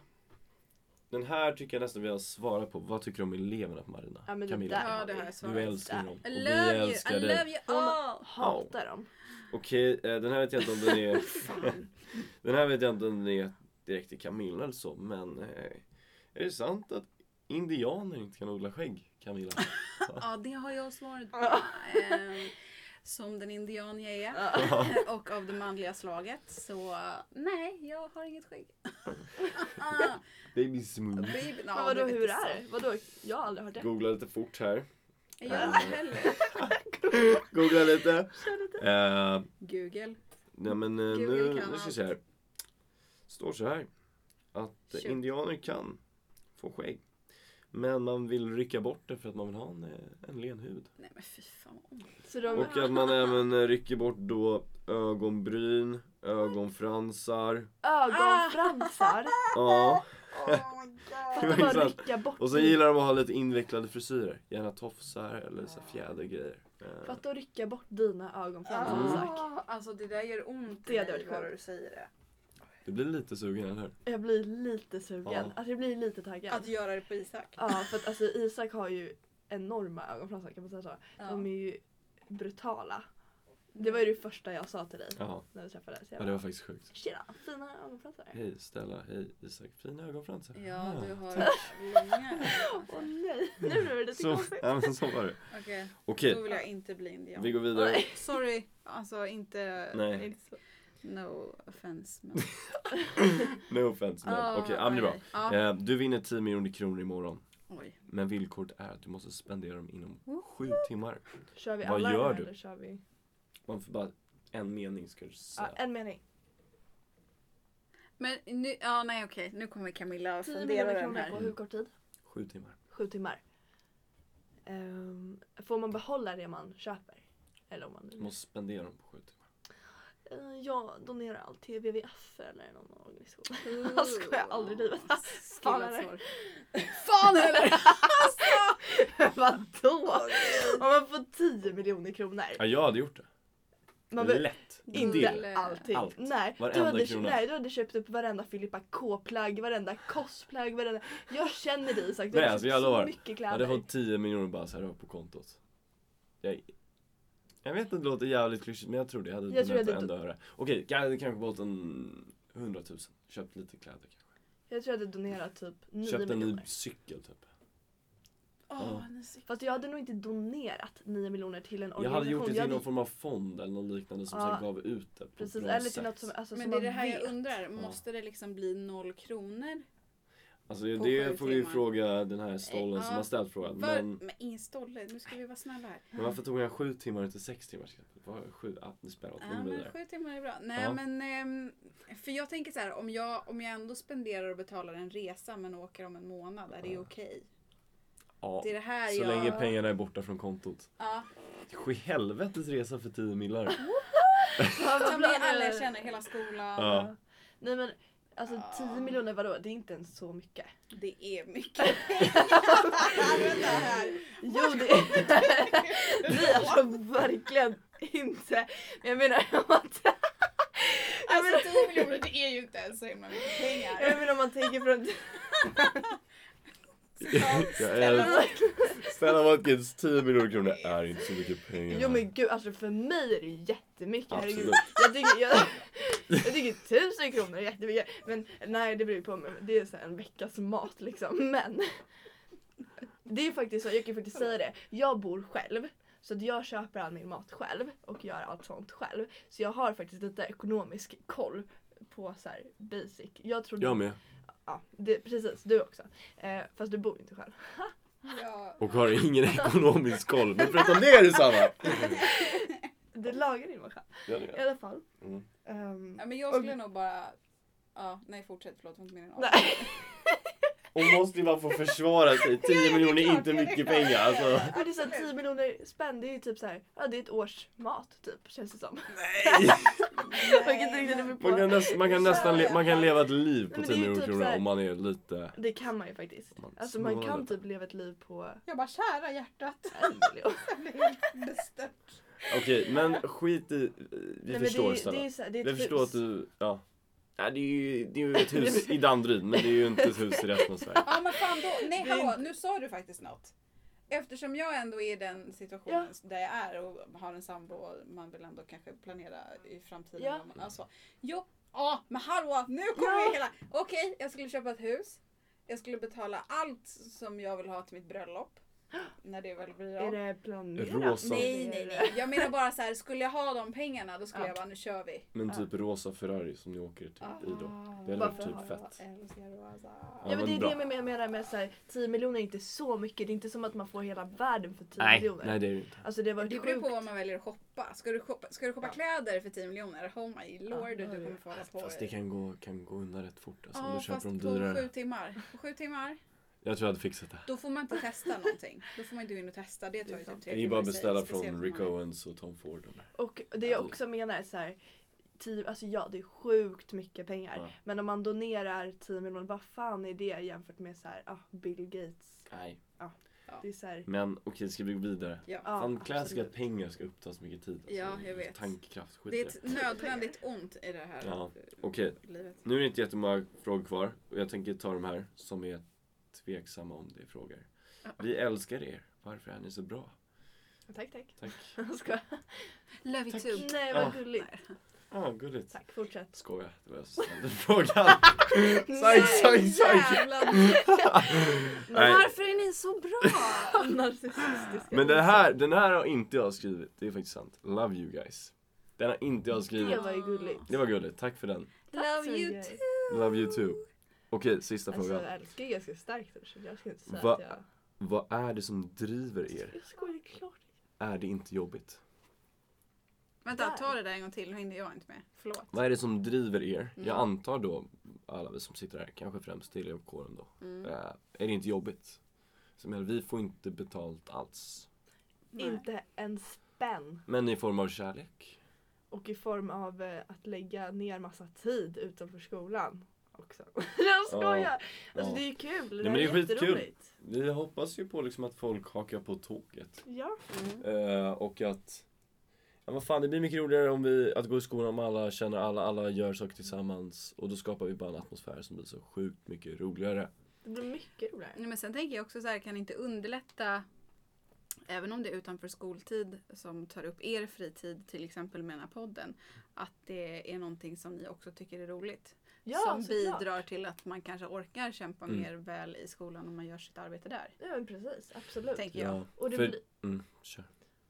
Den här tycker jag nästan vi har svarat på. Vad tycker du om eleverna på Marina? Ja, men det Camilla? där Ja, har det vi. har Du jag svarat. älskar dem. I och vi love you, älskar I dig. love you all! hatar dem. Okej, eh, den här vet jag inte om den *laughs* är... den här vet jag inte om den är direkt till Camilla eller så, men... Eh, är det sant att indianer inte kan odla skägg, *laughs* Camilla? Ja, det har jag svarat på. Ja. Ehm, Som den indian jag är *laughs* och av det manliga slaget. Så nej, jag har inget *laughs* skägg. Baby smooth. Baby, Men vadå hur är det? Vadå? Jag har aldrig hört det. Googla lite fort här. *laughs* Jag har inte heller. Googla lite. Eh, Google. Nej men eh, Mm. Gud, nu, kan nu ska vi allt. se här. Står så här. Att eh, Shoot. indianer kan få skägg. Men man vill rycka bort det för att man vill ha en, eh, en len hud. Nej men fy fan. Så de, Och att man även eh, rycker bort då ögonbryn, ögonfransar. Ah! *laughs* ögonfransar. Ja. Det var Fatta bara intressant. rycka bort Och så gillar de att ha lite invecklade frisyrer. Gärna tofsar eller så här fjädergrejer. Eh, Fatta att rycka bort dina ögonfransar Mm. Isak. Ah, alltså det där gör ont Det hade varit när skönt. du säger det. Det blir lite sugen, eller hur? Jag blir lite sugen. Ja. Alltså jag blir lite taggad. Att göra det på Isak. Ja för att alltså Isak har ju enorma ögonfransar kan man säga så. De är ju brutala. Det var ju det första jag sa till dig Ja, när vi träffades. Jag ja det var bara, faktiskt sjukt. Tjena, fina ögonfransar. Hej Stella, hej Isak. Fina ögonfransar. Ah. Ja, du har tack. långa *laughs* Åh nej, nu blev det lite Så, konstigt. *laughs* ja, men så var det. Okej, Okej, då vill jag inte bli indian. vi går vidare. Nej. Sorry, alltså inte... Nej. inte så- No offense. Men... No offense men Ah, okej, ja, men det är bra. nej. Ja. Eh, Du vinner 10 miljoner kronor imorgon. Oj. Men villkoret är att du måste spendera dem inom sju timmar. Kör vi Vad alla gör nu, du? eller kör vi? Man får bara en mening ska du Ja, säga. en mening. Men nu, ja nej okej, nu kommer Camilla att 10 fundera miljoner den kronor på *laughs* här. hur kort tid? Sju timmar. Sju timmar. Ehm, får man behålla det man köper? Eller om man Du måste spendera dem på sju timmar. Eh, Jag donerar allt till WWF eller någon organisation. Jag skojar, aldrig i livet. Fan, Skillat eller? svar. *laughs* Fan Alltså, heller! Vadå? Om man får 10 miljoner kronor. Ja, jag hade gjort det. Man behöver Lätt. inte Del. allting. Allt. Nej. Du, Varenda hade, krona. nej, du hade köpt upp varenda Filippa K-plagg, varenda Koss-plagg, varenda... Jag känner dig Isak, du Nej, har alltså, köpt jag så lovar. mycket Jag kläder. hade fått 10 miljoner bara så här upp på kontot. Jag, jag vet inte, det låter jävligt klyschigt men jag tror det. Jag hade Jag tror jag donat hade varenda öre. Okej, jag hade kanske behållit en 100 000. Köpt lite kläder kanske. Jag tror jag hade donerat typ 9 Köpt en miljoner. ny cykel typ. Åh, nu ser- Fast jag hade nog inte donerat 9 miljoner till en Jag hade organisation. gjort det Jag till någon form av fond eller något liknande som Ja. sen gav ut det. På Precis, något eller till sätt. något som, alltså, Men som det är man det här jag vet. undrar, måste det liksom bli noll kronor? Alltså på sju det får vi timmar. fråga den här stollen Ja. som har ställt frågan. Var, Men, men ingen stolle, nu ska vi vara snälla här. men varför tog han sju timmar och inte sex timmar? Var sju? Ja, det spelar Ja, inte men vidare. sju timmar är bra. Nej Ja. men, ehm, för jag tänker så här, om jag, om jag ändå spenderar och betalar en resa men åker om en månad, är det Ja. okej? Ja, Det är det här så jag... länge pengarna är borta från kontot. Ja, Ske helvetes resa för 10 millar. Ja, vad som bra. vi alla jag känner, hela skolan. Ja. *laughs* Nej men alltså Ja. 10 miljoner vadå? Det är inte ens så mycket. Det är mycket *laughs* Vänta här. Jo det är *laughs* Nej alltså verkligen inte. Men jag menar om man, jag menar, Alltså 10 miljoner det är ju inte ens så himla mycket pengar. jag menar om man tänker från Jag är- Stella Watkins, 10 miljoner kronor är inte så mycket pengar. Jo men gud alltså för mig är det ju jättemycket. Herregud. Absolut. Jag tycker, jag, *laughs* jag tycker tusen kronor är jättemycket. Men nej det beror ju på mig. Det är så här en veckas mat liksom. Men det är ju faktiskt så, jag kan ju faktiskt säga det. Jag bor själv. Så att jag köper all min mat själv och gör allt sånt själv. Så jag har faktiskt lite ekonomisk koll på så här basic. Jag trodde... Jag med. Ja, det, precis. Du också. Eh, fast du bor ju inte själv. Ja. Och har ingen ekonomisk koll. Men förutom det är det samma. Du lagar din mat själv. Ja, det I är. alla fall. Mm. Ehm, Ja, men jag skulle nog bara... Ja, nej fortsätt, förlåt. det var inte meningen. Nej. *laughs* Hon måste ju bara få försvara sig. 10 miljoner är inte mycket pengar. Alltså. Men det är såhär 10 miljoner spänn, det är ju typ såhär, ja det är ett års mat typ känns det som. *laughs* Man kan tänka det Man kan, på. näst, man kan nästan le, man kan leva ett liv på Men det 10 är ju miljoner typ så kronor här- om man är lite... Det kan man ju faktiskt. Om man Alltså man snålar kan lite. typ leva ett liv på Jag bara, kära hjärtat. *laughs* en miljon. Jag blev helt bestört. Okej, men skit i... Vi Nej, men förstår det, är- Stella. det är så här, det är typ Vi ett förstår hus. att du... Ja. Nej, det är ju, det är ju ett *laughs* hus i Danderyd, men det är ju inte ett hus i resten av Sverige. Ja men fan då, nej Det är hallå, nu sa du faktiskt något. Eftersom jag ändå är i den situationen där jag är och har en sambo och man vill ändå kanske planera i framtiden. Ja. vad man- Alltså, jo, ja men hallå, nu kommer Ja. hela... Okej, jag skulle köpa ett hus. Jag skulle betala allt som jag vill ha till *gasps* mitt bröllop. När det väl blir Är av. det planerat? Rosa. Nej, nej, nej. Jag menar bara så här, skulle jag ha de pengarna då skulle Ja. jag bara, nu kör vi. Men typ rosa Ferrari som ni åker Ah. typ i då. Det hade varit Varför typ fett. Ja men det är bra. det jag menar med såhär, 10 miljoner är inte så mycket, det är inte som att man får hela världen för 10 Nej, miljoner. nej det är det inte. Alltså det var Det beror på vad man väljer att shoppa. Ska du shoppa, ska du shoppa kläder för 10 miljoner? Oh my lord, det du är- kommer få hålla på. Fast det kan gå, kan gå undan rätt fort Ah, alltså, om Ja, du köper fast de på sju dyrare. timmar. På sju timmar, Jag tror jag hade fixat det. då får man inte *laughs* testa någonting. Då får man inte gå in och testa. Det tar ju typ tre Det är ju bara att timmar i sig, beställa speciellt om från man- Rick Owens och Tom Ford. och de där. Och det jag också menar är såhär, 10, alltså ja det är sjukt mycket pengar. Ja. Men om man donerar 10 miljoner, vad fan är det jämfört med så här, ah, Bill Gates? Nej. Det är så här, Men okej, ska vi gå vidare? Ja. ja, Fan, klassiska absolut. att pengar ska uppta så mycket tid. Alltså. Ja, jag vet. Tankekraft, skit Det i är det. ett nödvändigt ont i det här Ja, eh, Okej, livet. nu är det inte jättemånga frågor kvar. Och jag tänker ta de här som är tveksamma om det är frågor. Ja. Vi älskar er. Varför är ni så bra? Tack tack. Tack. *laughs* Jag skojar. Love you Tack. too. Nej vad Ah. gulligt. Ja, ah, gulligt. Tack, fortsätt. Skoja, det var jag som ställde *laughs* *laughs* frågan. Sorry, sorry, sorry. Nej. Varför är ni så *laughs* bra? Narcissistiska. Men den här, den här har inte jag skrivit. Det är faktiskt sant. Love you guys. Den har inte jag skrivit. Det var ju gulligt. Det var gulligt. Tack för den. Tack så Love you mycket. too. Love you too. Okej, sista Alltså frågan. jag älskar ju ganska starkt det, så jag ska inte säga Va- att jag... Vad är det som driver er? Jag skojar, det är klart. Är det inte jobbigt? Vänta, Där. ta det där en gång till. Då hinner jag inte med. Förlåt. Vad är det som driver er? Mm. Jag antar då alla vi som sitter här, kanske främst elevkåren då. Mm. Eh, är det inte jobbigt? Som helst, vi får inte betalt alls. Nej. Inte en spänn. Men i form av kärlek. Och i form av eh, att lägga ner massa tid utanför skolan också. *laughs* jag skojar! Alltså ja. det är ju kul. Nej, det, men det här är skitkul. jätteroligt. Vi hoppas ju på liksom att folk hakar på tåget. Ja. Mm. Eh, och att Ja, vad fan, det blir mycket roligare om vi, att gå i skolan om alla känner alla, alla gör saker tillsammans och då skapar vi bara en atmosfär som blir så sjukt mycket roligare. Det blir mycket roligare. Nej, Men sen tänker jag också så här, kan inte underlätta Även om det är utanför skoltid som tar upp er fritid, till exempel med den här podden, att det är någonting som ni också tycker är roligt. Ja, som såklart. bidrar till att man kanske orkar kämpa Mm. mer väl i skolan om man gör sitt arbete där. Ja men precis, absolut. Tänker jag. Och det, För- blir, Mm, kör.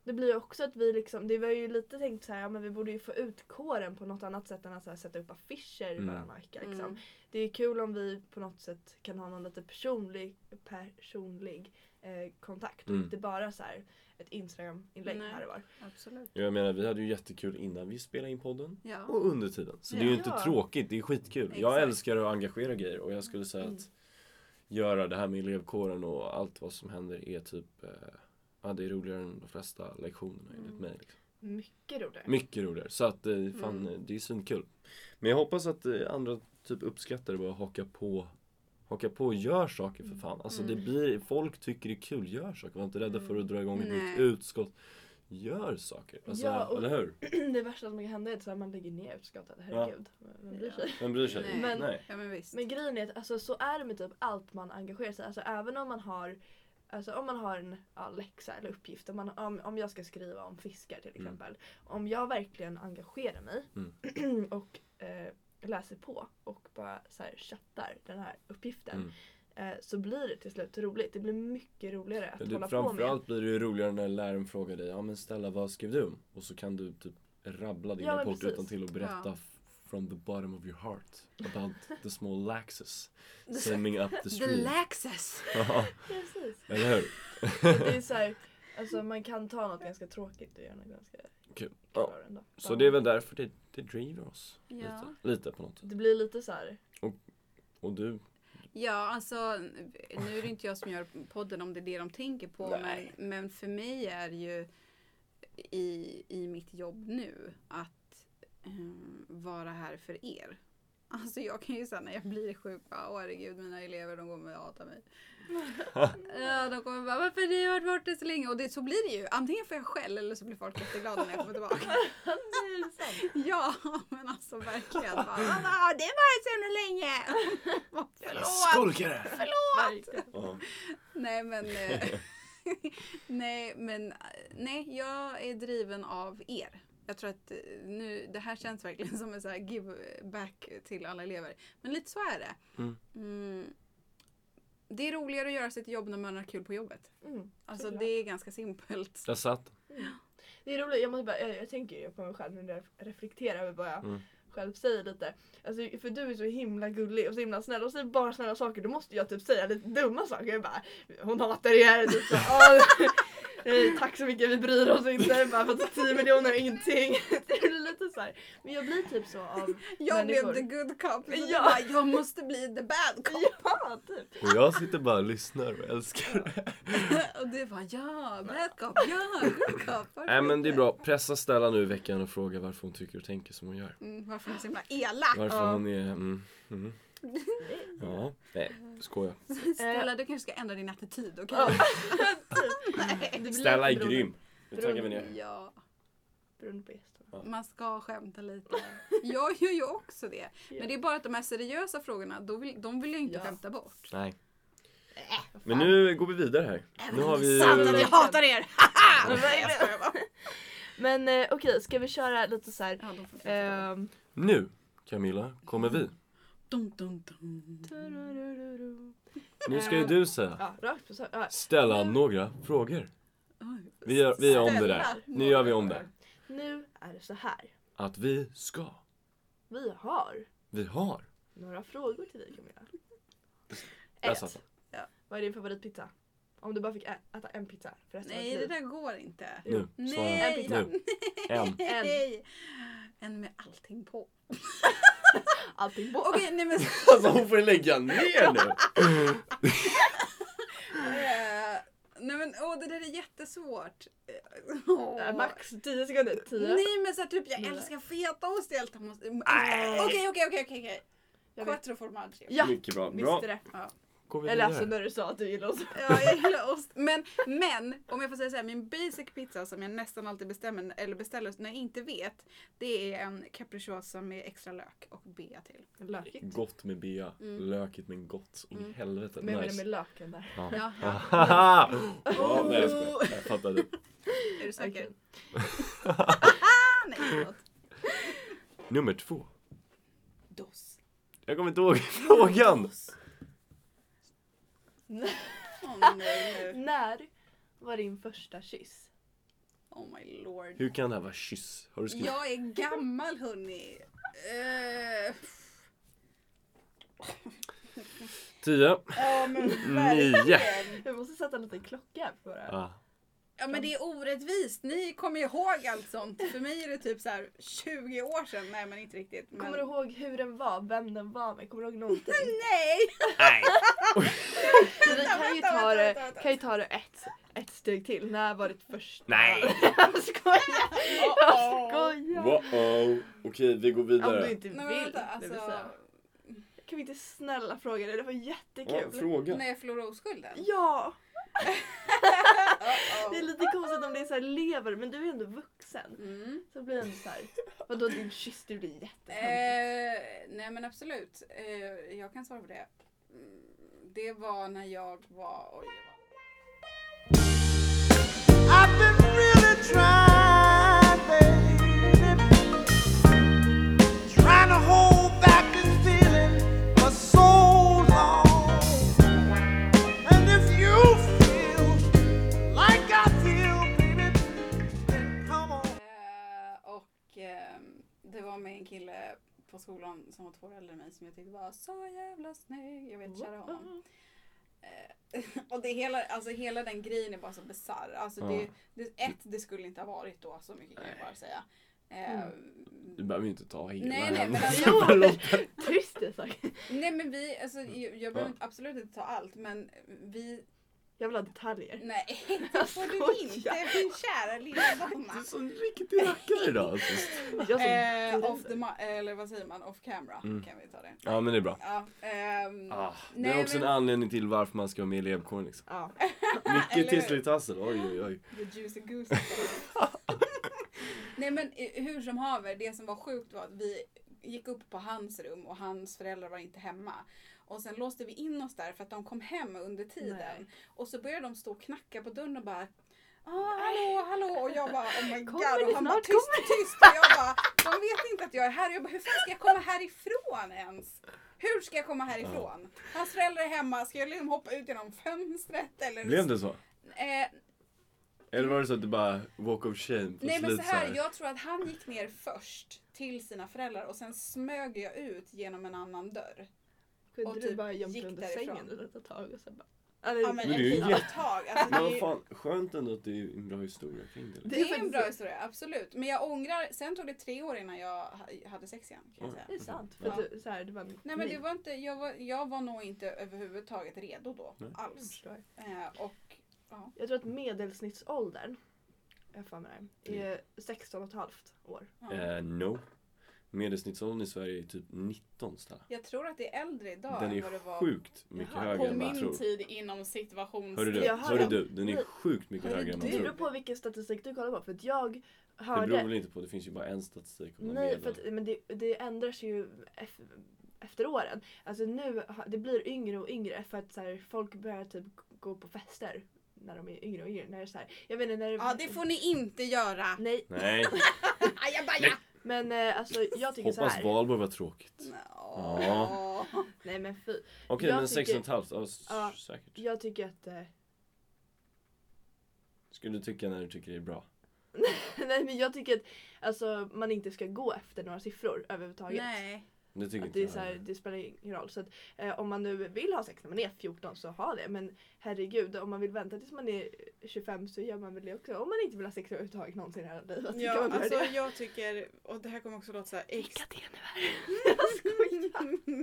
det blir ju också att vi liksom, det var ju lite tänkt så här, ja men vi borde ju få ut kåren på något annat sätt än att så här, sätta upp affischer Mm. varannan vecka liksom. Mm. Det är kul om vi på något sätt kan ha någon lite personlig, personlig eh, kontakt och Mm. inte bara så här ett Instagram-inlägg Nej. här och var. Absolut. Jag menar, vi hade ju jättekul innan vi spelade in podden. Ja. Och under tiden. Så det är ju inte Ja. tråkigt, det är skitkul. Jag Exakt. älskar att engagera grejer och jag skulle säga Mm. att göra det här med elevkåren och allt vad som händer är typ eh, Ja det är roligare än de flesta lektionerna enligt Mm. mig. Liksom. Mycket roligare. Mycket roligare. Så att eh, fan, Mm. eh, det är svinkul. Men jag hoppas att eh, andra typ uppskattar det bara haka på Haka på och gör saker för fan. Alltså det Mm. blir, folk tycker det är kul, gör saker. Var inte rädda för att dra igång ett Nej. nytt utskott. Gör saker. Alltså, Ja, och- eller hur? *clears throat* det värsta som kan hända är att så här, man lägger ner utskottet, herregud. Vem bryr sig? Vem bryr sig? Nej. Men- Nej. ja, men visst. Men grejen är att alltså, så är det med typ allt man engagerar sig i. Alltså även om man har Alltså om man har en ja, läxa eller uppgift, om, man, om, om jag ska skriva om fiskar till Mm. exempel. Om jag verkligen engagerar mig *clears throat* och eh, läser på och bara så här, chattar den här uppgiften. Eh, så blir det till slut roligt. Det blir mycket roligare att Mm. Men hålla det, på med. framförallt blir det ju roligare när läraren frågar dig, ja men Stella vad skrev du om? Och så kan du typ rabbla din Ja, men rapport precis. utan till och berätta Ja. f- from the bottom of your heart about the small *laughs* laxes swimming up the The stream. laxes! *laughs* Ja, Precis. Eller hur? Det är så här, alltså man kan ta något ganska tråkigt och göra något ganska Kul. kul Ja. av det ändå. Så det är väl därför det, det driver oss Ja. lite, lite på något sätt. Det blir lite så här, Och du, Ja, alltså nu är det inte jag som gör podden om det är det de tänker på. Men, Nej. men för mig är ju i, i mitt jobb nu att ehm, vara här för er. Alltså jag kan ju säga när jag blir sjuk bara, åh herregud mina elever de kommer att *laughs* hata mig. ja, de kommer bara, varför har ni varit borta så länge? Och det, så blir det ju. Antingen får jag skäll eller så blir folk jätteglada när jag *laughs* kommer tillbaka. nej, det är sant. *laughs* ja, men alltså *laughs* verkligen. Bara, "Mamma, det var ju så himla länge! jävla Förlåt! skolkare! Ja. Nej men... *laughs* eh, *laughs* nej men, eh, nej jag är driven av er. Jag tror att eh, nu, det här känns verkligen *laughs* som en så här give back till alla elever. Men lite så är det. Mm. Mm. Det är roligare att göra sitt jobb när man har kul på jobbet. Mm. Alltså Såklart. det är ganska simpelt. Där satt Det är roligt, jag, måste bara, jag, jag tänker ju på mig själv när jag reflekterar över vad jag Mm. själv säger lite. Alltså, för du är så himla gullig och så himla snäll och säger bara snälla *laughs* saker. Då måste jag typ säga lite dumma saker. Jag bara, hon hatar er. Typ så, "Åh, Eh, Tack så mycket, vi bryr oss inte. Bara för att 10 miljoner är ingenting. *laughs* Det blir lite så här. Men jag blir typ så av... Jag Människor. blev the good cop. Men Ja. jag, bara, jag måste bli *laughs* the bad cop. *laughs* Ja, typ. Och jag sitter bara och lyssnar och älskar det. Och du bara ja, bad cop, ja, good cop. varför Nej men det är inte? bra. Pressa Stella nu i veckan och fråga varför hon tycker och tänker som hon gör. Mm, varför är du så himla elak? Varför Ja. hon är... Mm, *laughs* mm. Ja, nej, skoja. Stella, du kanske ska ändra din attityd, okej? Ja, typ. Det blir Stella är lite beroende- grym. Nu taggar vi ner. Ja, Beroende på gästen. man ska skämta lite. Jag gör ju också det. Men det är bara att de här seriösa frågorna, då vill, de vill jag inte Ja. skämta bort. Nej. Men nu går vi vidare här. Nu har vi... Sant att jag verkligen. hatar er! Ja, verkligen. *laughs* Men eh, okej, ska vi köra lite så här... Ja, de får fortsätta. ehm, Nu, Camilla, kommer vi. Dum, dum, dum. tururururu. Nu ska ju du säga. Ja, rakt på sak. Ja. Ställa några frågor. Oj. Vi gör, vi gör om det där. Nu gör vi om det. Nu är det så här. Att vi ska. Vi har Vi har. några frågor till dig Camilla. Där Ett. satt den. Vad är din favoritpizza? Om du bara fick ä- äta en pizza för resten av Nej, ditt det liv. där går inte. Nu, svara. En Nej! pizza. Nu. En. Nej. En med allting på. Allting på. *laughs* Okej, nej *laughs* men... *laughs* Alltså hon får lägga ner nu. Eh, nej men åh, det där är jättesvårt. Eh, Åh. Max 10 sekunder. 10. Nej men så här, typ jag Nej. älskar fetaost i allt. jag måste- Nej. Okej, okej, okej, okej. okej. Jag vet. Quattro formaggi. Ja, Mycket bra. Bra. visste det. Ja. Går vi Eller alltså vidare. när du sa att du gillar oss. Ja, jag gillar ost. Men, men om jag får säga så här, min basic pizza som jag nästan alltid bestämmer eller beställer när jag inte vet. Det är en capricciosa med extra lök och bea till. Lökigt. Gott med bea. Mm. Lökigt men gott. In i helvete. Men jag menar Nice. Mm. med löken där. Ja, Ahaha! Ja, nej jag Oh. skojar. Jag fattade. är du säker? Okej. Ah, nej, förlåt. Nummer två. Dos. Jag kommer inte ihåg *laughs* frågan. Åh nej nu. När var din första kyss? Oh my lord. Hur kan det här vara kyss? Har du skrivit? Jag är gammal hörni. Eh, Tio. Ja men Nio. Jag måste sätta en liten klocka på det. Ah. Ja men det är orättvist. Ni kommer ju ihåg allt sånt. För mig är det typ så här 20 år sedan. Nej men inte riktigt. Men... Kommer du ihåg hur den var? Vem den var med? Kommer du ihåg någonting? *laughs* Nej! Nej. Vi kan ju *laughs* vänta, ta vänta, det, vänta. kan ju ta det ett, ett steg till. När var ditt första? Nej. *laughs* Jag skojar! Oh, Jag skojar! Wow. Okej, vi går Om du vidare. inte vill. Nej, men vänta, det vill alltså, säga. Kan vi inte snälla fråga dig? Det var Ja, jättekul. fråga. när jag förlorade oskulden. Ja! Uh-oh. Det är lite konstigt om det är så här lever men du är ändå vuxen. Mm. Så blir det ändå så här. Vadå din kyss? Det blir jättehemskt. Eh, nej men absolut. Eh, jag kan svara på det. Mm, Det var när jag var... Oj, jag var... I've been really trying, baby. Trying to hold back this feeling for so long. And if you feel like I feel, baby, then come on. Eh, och ehm, det var med en kille på skolan som var två år äldre än mig som jag tyckte var så jävla snygg. Jag vet, kära honom. Eh, och det hela, alltså hela den grejen är bara så bisarr. Alltså det, Ja. det, ett, det skulle inte ha varit då så mycket kan jag bara säga. Eh, Du behöver ju inte ta hela Nej, nej, men händelsen. alltså- Förlåt. Tyst Isak! Nej men vi, alltså jag, jag Ja. behöver inte- absolut inte ta allt men vi, Jag vill ha detaljer. nej *laughs* det Jag får skojar. du inte min kära lilla Du är mamma. en sån riktig rackare idag alltså. Jag som Eh, off the, driver. ma- eller vad säger man, off camera Mm. kan vi ta det. Ja men det är bra. Ja, ehm, Ah, det är Nej, också en men- anledning till varför man ska vara med i elevkåren *laughs* liksom. Ja. Mycket Eller hur? tisseltassel, oj oj oj. The juicy goose. Nej men eh, hur som haver, det som var sjukt var att vi gick upp på hans rum och hans föräldrar var inte hemma. Och sen låste vi in oss där för att de kom hem under tiden. Nej. Och så började de stå och knacka på dörren och bara Ah, hallå, hallå! Och jag bara oh my Kommer god. ni Och han bara snart? tyst, tyst. Och jag bara de vet inte att jag är här. Och jag bara hur fan ska jag komma härifrån ens? Hur ska jag komma härifrån? Hans föräldrar är hemma. Ska jag liksom hoppa ut genom fönstret eller? Blev det så? Eh, Eller var det så att du bara walk of shame? Nej men så här, jag... jag tror att han gick ner först till sina föräldrar och sen smög jag ut genom en annan dörr. Kunde Och du typ bara gömt gick dig under därifrån. sängen ett litet tag och sen bara Ja, det- Ja men det är ett ju litet jätte- *laughs* tag. Alltså, Men det, är vad ju, fan, skönt ändå att det är en bra historia kring det. liksom. det är en faktiskt- bra historia, absolut. Men jag ångrar, sen tog det tre år innan jag ha- hade sex igen. Kan jag Oj. säga. Det är sant. För Ja. att du, så här, du bara, nej, Nej men det var inte, jag var, jag var nog inte överhuvudtaget redo då Nej. Jag alls. Mm, förstår. Eh, och ja. Jag tror att medelsnittsåldern, jag har för mig det, Mm. här, är 16 och ett halvt år. ja. Eh, no. Medelsnittsåldern i Sverige är typ 19 Stella. Jag tror att det är äldre idag Den än vad det är var. sjukt mycket Jaha, högre På än man tror. min tid inom situations... Hörru du, Jag hör- hörru du, den är Nej. sjukt mycket Hörru högre än man Det tror. beror på vilken statistik du kollar på. För att jag Det beror väl hörde... inte på, det finns ju bara en statistik om Nej, för medel. att, men det, det ändras ju eff- efter åren. Alltså nu, ha- det blir yngre och yngre för att så här, folk börjar typ gå på fester när de är yngre och yngre. När det är så här, jag vet inte, när Ja det får ni inte göra! Nej, *laughs* Nej, Ajabaja! men eh, alltså jag tycker så hoppas här. valborg var tråkigt. Ja. Nej men fy. Okej, Jag men tycker- 16 och ett halvt, ja, s- Ja. säkert. Jag tycker att... Eh, *laughs* Skulle du tycka när du tycker det är bra? nej men jag tycker att alltså, man inte ska gå efter några siffror överhuvudtaget. Nej. Det tycker Att inte det, är jag. så här, det spelar ingen roll. Så att, eh, om man nu vill ha sex när man är 14 så ha det. Men herregud, om man vill vänta tills man är 25 så gör man väl det också. Om man inte vill ha sex överhuvudtaget någonsin i hela livet. så kan Ja, man göra alltså det. jag tycker, och det här kommer också låta såhär extra... Vilka det nu är.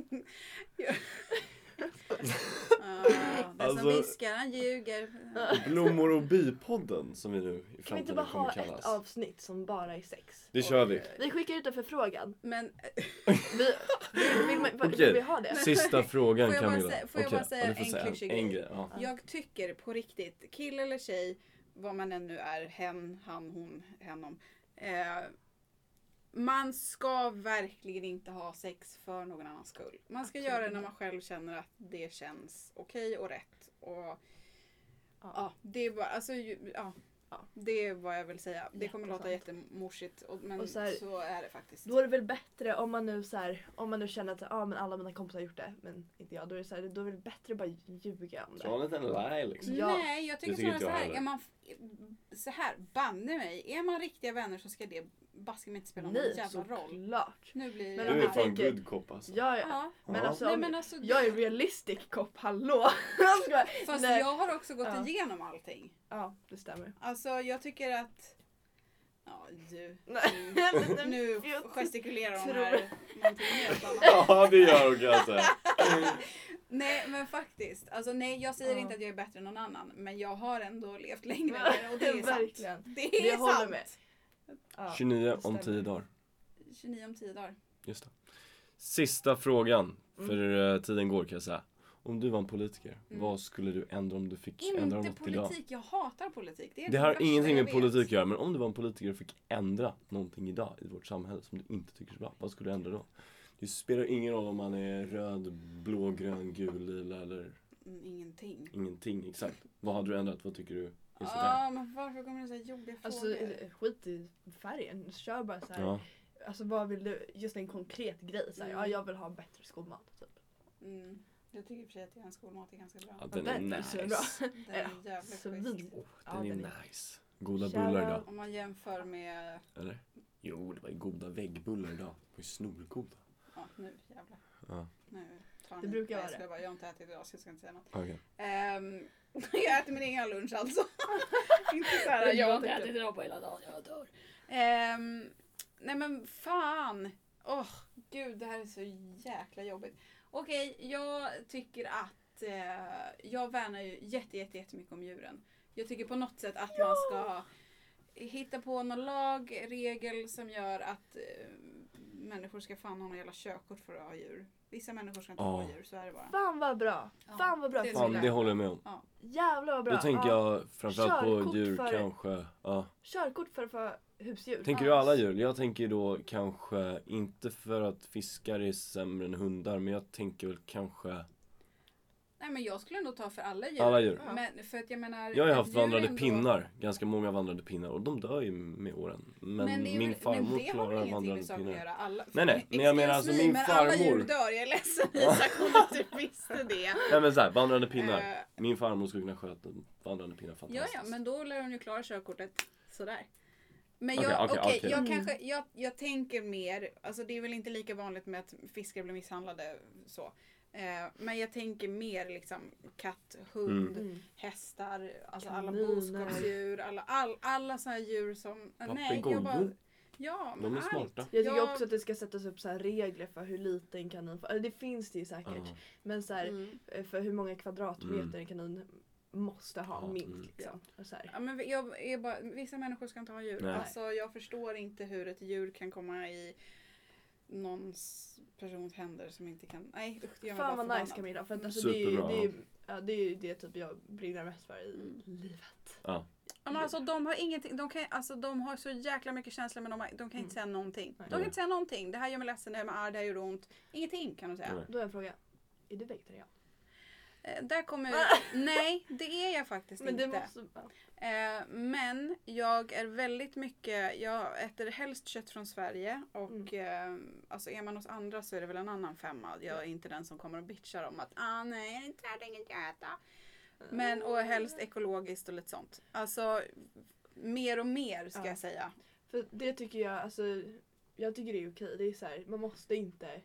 *laughs* jag skojar. *laughs* Ah, den Alltså- som viskar han ljuger. Blommor och bi-podden som vi nu i Kan vi inte framtiden bara kommer ha ett kallas. avsnitt som bara är sex? Det kör vi. Vi skickar ut en förfrågan. Men Vi, vill, vill, man- Okej. vill vi ha det? Sista frågan Får jag bara Camilla. sä- får jag Okej, bara säga ja, du får en klyschig en grej? grej. Ja. jag tycker på riktigt, kille eller tjej, vad man än nu är, hen, han, hon, henom. Eh, man ska verkligen inte ha sex för någon annans skull. Man ska Absolut göra det när inte. man själv känner att det känns okej och rätt. Och Ja. Ja, det är bara, alltså, ju- ja. Ja. Det är vad jag vill säga. Det kommer låta Jättesant. jättemorsigt och, men Och så så, här- är det faktiskt. Då är det väl bättre om man nu, så här, om man nu känner att ah, men alla mina kompisar har gjort det men inte jag. Då är det, så här, då är det väl bättre att bara ljuga om det. Ta en liten lie Mm, liksom. Ja. Nej, jag tycker Det tycker inte snarare så jag här. heller. Är man, f- så här, banne mig. Är man riktiga vänner så ska det baske mig inte spela någon jävla roll. såklart. Nu blir Men Du är jag fan tänker- good cop alltså. Ja, ja. Ja. Men Ja. alltså, Nej om- men alltså, jag är realistic cop, hallå! *laughs* Jag skojar. fast Nej. jag har också gått Ja. igenom allting. ja, det stämmer. Alltså jag tycker att... Ja du. Nej, *laughs* Nu, nu jag gestikulerar hon tror- *laughs* här. Någonting helt annat. *laughs* Ja det gör hon kanske. Nej men faktiskt. Alltså nej jag säger Ja. inte att jag är bättre än någon annan. Men jag har ändå levt längre än er och det är sant. Verkligen. Det är Jag håller sant. med. Ja. 29 om stämmer. 10 dagar. 29 om 10 dagar. Just det. Sista frågan. För eh, tiden går kan jag säga. Om du var en politiker, Mm. vad skulle du ändra om du fick ändra Inte något idag? politik, jag hatar politik. Det, är Det har värsta ingenting jag med vet. politik att göra, men om du var en politiker och fick ändra någonting idag i vårt samhälle som du inte tycker är bra, vad skulle du ändra då? Det spelar ingen roll om man är röd, blå, grön, gul, lila eller Mm, Ingenting. ingenting exakt. Vad hade du ändrat? Vad tycker du? Ja Just det där. men varför kommer det så här jobbiga Alltså frågor? eh, skit i färgen, kör bara så här. Ja. Alltså vad vill du, just en konkret grej så här, Mm. ja jag vill ha bättre skolmat typ. Mm. Jag tycker i och för sig att er skolmat är ganska bra. ja, den är Den är nice. så Den bra. Den är Ja, jävla svin. schysst. Oh, Ja, den är den är- nice. Goda Kära- bullar idag. Om man jämför med... Eller? Jo, det var ju goda väggbullar idag. De var ju snorgoda. Ja nu jävlar. Ja. Nu tar Det ni- brukar Nej, vara jag skojar bara, Jag har inte ätit idag så jag ska inte säga något. Okay. Ehm, *laughs* jag äter min egen lunch *laughs* alltså. inte så här, Jag har inte tänker- ätit idag på hela dagen, jag dör. Ehm, nej men fan. Åh gud det här är så jäkla jobbigt. Okej jag tycker att eh, jag värnar ju jätte, jätte, jättemycket om djuren. Jag tycker på något sätt att man ska hitta på någon lag, regel som gör att eh, människor ska fan ha någon jävla körkort för att ha djur. Vissa människor ska inte ha Ja. djur, så är det bara. Fan vad bra! Ja, Fan vad bra! det är Fan, så det håller jag med om. Jävlar vad bra! Då tänker Ja. jag framförallt på Körkort djur för- kanske. Ja. Körkort för att få husdjur. Tänker du alla djur? Jag tänker då kanske, inte för att fiskar är sämre än hundar, men jag tänker väl kanske Nej men jag skulle ändå ta för alla djur. alla djur. Ja. Men för att jag menar... Jag har ju ett haft djur vandrade ändå- pinnar, ganska många vandrade pinnar och de dör ju med åren. Men, det är ju- min farmor men det har väl klarar ingenting med vandrade saker att pinnar. göra. Alla, Nej, nej, men jag menar Excuse alltså me, min men alla djur farmor- dör, jag är ledsen Isak *laughs* om du inte visste det. Nej men såhär, vandrande pinnar. Eh, Min farmor skulle kunna sköta vandrande pinnar ja, fantastiskt. ja, men då lär hon ju klara körkortet sådär. Men Okej, jag, okej, okej, okej. jag Mm. kanske, jag, jag tänker mer, alltså det är väl inte lika vanligt med att fiskar blir misshandlade så. Eh, men jag tänker mer liksom katt, hund, Mm. hästar, alltså alla Kaniner. boskapsdjur, alla, all, alla sådana djur som... Ja, nej, jag pegojor. bara, ja, men De är allt. smarta. Jag tycker Ja. också att det ska sättas upp så här regler för hur liten kanin får. Eller det finns det ju säkert. Ja. Men så här, Mm. eh, för hur många kvadratmeter Mm. en kanin måste ha Ja, minst. mm. Liksom. Och så här. Ja, men vi- jag är bara, vissa människor ska inte ha djur. Nej. Alltså, jag förstår inte hur ett djur kan komma i någons persons händer som inte kan... Nej, usch, det gör mig bara Fan vad nice förbannad. Camilla. För att, alltså, det, är ju, Superbra. det, är, ju- ja, det är ju det typ jag brinner mest för i Mm. livet. Ja. Ja, men alltså, de har ingenting, de, kan, alltså, de har så jäkla mycket känslor men de, har, de kan inte Mm. säga någonting. Nej. De kan inte säga någonting. Det här gör mig ledsen, det här gör mig arg, det här gör ont. Ingenting kan de säga. Nej. Då har jag en fråga. Är du vegetarian? Eh, *laughs* Där kommer... Nej, det är jag faktiskt Men inte. det måste... Ja. Eh, men jag är väldigt mycket, jag äter helst kött från Sverige och eh, alltså är man hos andra så är det väl en annan femma. Jag är inte den som kommer och bitchar om att ah nej, det är inte här, det är inget jag äta. Men och helst ekologiskt och lite sånt. Alltså mer och mer ska Ja. jag säga. För det tycker jag, alltså, jag tycker det är okej. Det är så här, man måste inte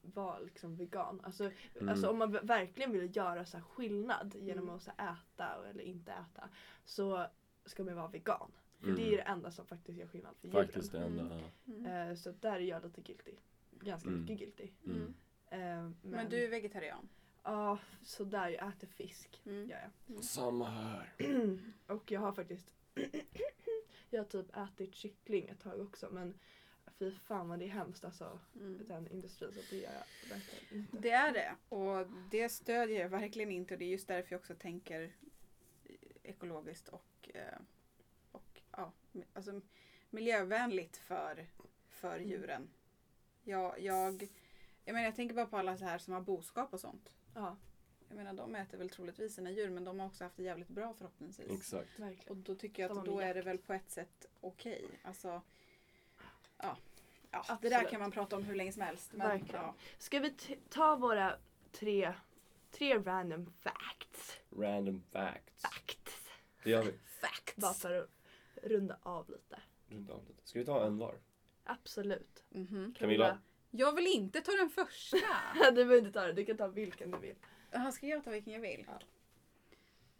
vara liksom vegan. Alltså, Mm. alltså om man v- verkligen vill göra så här skillnad genom Mm. att så här äta och- eller inte äta så ska man vara vegan. För Mm. det är det enda som faktiskt gör skillnad för djuren. Faktiskt det enda. ja. Mm. Eh, så där är jag lite guilty. Ganska Mm. mycket guilty. Mm. Mm. Eh, men, Men du är vegetarian? Ja, sådär. Jag äter fisk. Mm. Gör jag. Samma här. Och jag har faktiskt *clears throat* Jag har typ ätit kyckling ett tag också men fy fan vad det är hemskt alltså. Mm. Den industrin så det gör jag verkligen inte. Det är det och det stödjer jag verkligen inte och det är just därför jag också tänker ekologiskt och, eh, och ja, mi- alltså, miljövänligt för, för Mm. djuren. Jag, jag, jag, menar, jag tänker bara på alla så här som har boskap och sånt. Ja, Jag menar de äter väl troligtvis sina djur men de har också haft det jävligt bra förhoppningsvis. Exakt. Och verkligen. då tycker jag Samma att med då är det jakt. väl på ett sätt okej. Alltså, ja. Ja, det Absolut. där kan man prata om hur länge som helst. Men, Verkligen. ja. Ska vi t- ta våra tre, tre random facts? Random facts. Facts. Det gör vi. Bara för att runda av lite. Mm. Runt om det. Ska vi ta en *laughs* var? Absolut. Mhm. Camilla? Jag vill inte ta den första. Camilla, *laughs* Du behöver inte ta det, du kan ta vilken du vill. Jaha, ska jag ta vilken jag vill? Ja.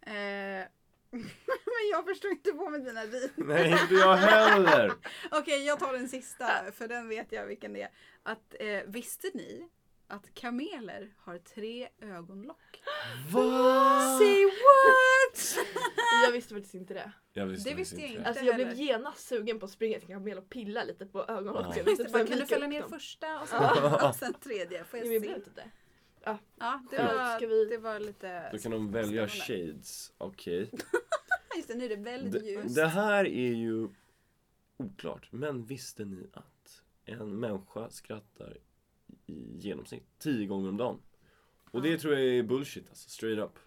Eh, *laughs* men jag förstår inte på med dina vin. Nej, inte jag *laughs* heller! Okej, jag tar den sista för den vet jag vilken det är. Att, eh, visste ni att kameler har tre ögonlock? Va? Say *laughs* what? *laughs* Jag visste faktiskt inte det. Jag visste Det visste faktiskt jag inte. Alltså jag blev heller. genast sugen på att springa till en kamel och pilla lite på ögonlocken. Ja. *laughs* Typ Visst, så bara, här kan du vika fälla upp ner dem. första och *laughs* sen, och sen tredje? Får Nej, jag men jag se? blev inte det. Ja, det Skönt. var, Ska vi- det var lite... Då kan de välja Spännande. shades. Okej. Just det, nu är det väldigt Det, ljust. det här är ju oklart. Men visste ni att en människa skrattar i genomsnitt 10 gånger om dagen? Och det tror jag är bullshit alltså, straight up.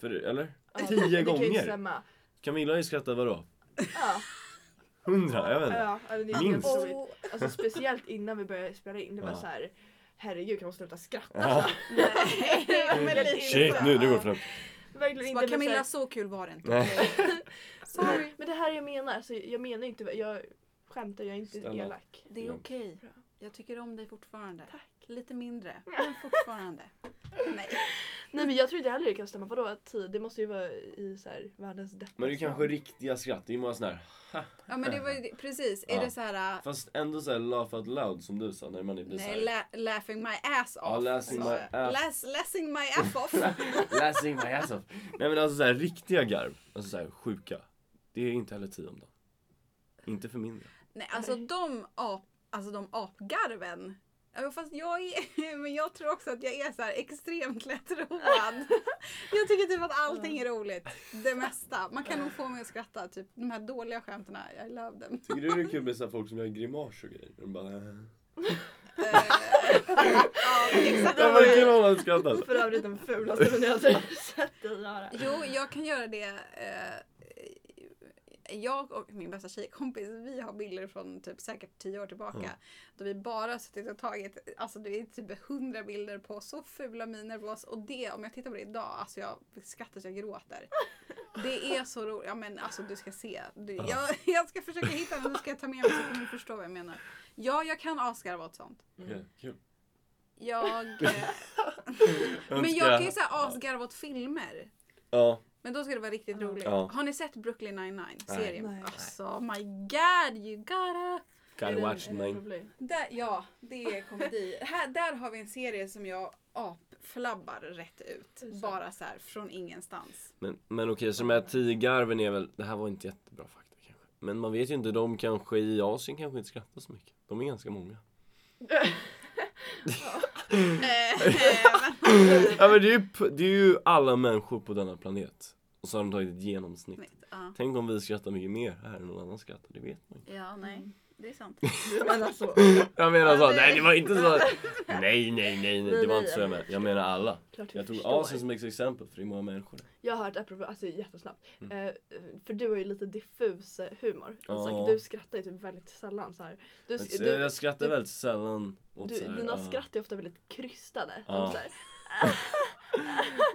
För, eller? Ja, Alltså, det- Tio det kan ju gånger? stämma. Camilla har ju skrattat vadå? Ja, 100? Jag vet inte. ja, ja, det är Minst. Minst. Åh, Alltså speciellt innan vi började spela in. Det var Ja. så här, herregud kan hon sluta *laughs* skratta? Ja. nej, men lite Shit, så. nu, nu går det *laughs* fram. Verkligen Så inte. men så bara, här- Camilla, så kul var det inte. Nej. Sorry. Men det här jag menar, alltså, jag menar inte, jag skämtar, jag är inte Snälla. elak. Det är Ja. okej. Jag tycker om dig fortfarande. Tack. *laughs* Lite mindre, men fortfarande. Nej. Nej men jag tror inte heller det kan stämma. Vadå att tid? Det måste ju vara i så här, världens deppigaste Men det är kanske land. riktiga skratt. Det är många sådana här Ja men det var ju det- precis. Är Ja. det så här... äh, Fast ändå såhär laugh out loud som du sa när man blir Nej, såhär la- laughing my ass off. Ja, laughing Så, my ass. Lass, lassing my ass *laughs* off. Lassing my ass off Nej men alltså såhär riktiga garv, alltså såhär sjuka Det är inte heller tio om dagen Inte för mindre Nej, alltså de, ap, alltså de apgarven. Ja, Fast jag, är, *laughs* men jag tror också att jag är så här extremt lättroad. *laughs* Jag tycker typ att allting är roligt. Det mesta. Man kan nog få mig att skratta. Typ de här dåliga skämten. I love them. Tycker du det är kul med såhär folk som gör grimas och grejer? De bara äh. Eh, ja, exakt. Det var kul om man skrattar För övrigt den fulaste men jag har sett dig *laughs* göra. Jo, jag kan göra det. eh, Jag och min bästa tjejkompis, vi har bilder från typ säkert tio år tillbaka. Ja. Då vi bara suttit och tagit, alltså det är typ hundra bilder på så fula miner på oss. Och det, om jag tittar på det idag, alltså jag skrattar så jag gråter. Det är så roligt. Ja men alltså du ska se. Du, jag, *laughs* jag ska försöka hitta den, nu ska jag ta med mig så kommer du förstå vad jag menar. Ja, jag kan asgarva åt sånt. Okej, Kul jag... *laughs* eh, men jag kan ju såhär asgarva åt filmer. Ja, Men då ska det vara riktigt Ja. roligt. Ja. Har ni sett Brooklyn 99? Nej. Serien? Nej. Alltså my god you gotta... gotta watch Är det en den. *laughs* problem? Där, ja, det är komedi. här, där har vi en serie som jag apflabbar rätt ut. Tusen. Bara så här från *laughs* ingenstans. Men, men okej, så de här tigarven är väl, det här var inte jättebra fakta kanske. Men man vet ju inte, de kanske i Asien kanske inte skrattar så mycket. De är ganska *laughs* många. Eh, Ja men det är ju, p- det är ju alla människor på denna planet. Och så har de tagit ett genomsnitt. ja. Tänk om vi skrattar mycket mer här än någon annan skrattar, det vet man ju. ja, nej. Det är *laughs* sant. *laughs* Men alltså, Jag menar så, Ja, nej det var inte så. Nej, nej, nej, nej, det var inte så jag menade. Jag menar alla. klart vi Jag alltså- tog förstår. Asien som ett exempel för det är många människor. Jag har hört, apropå, alltså jättesnabbt, Mm. eh, för du har ju lite diffus eh, humor. Ja. Isak, du skrattar ju typ väldigt sällan så här. Du, Men, du, så, eh, jag du, skrattar du- väldigt sällan åt så här, ah. dina ja. skratt är ofta väldigt krystade. Ja. De så här,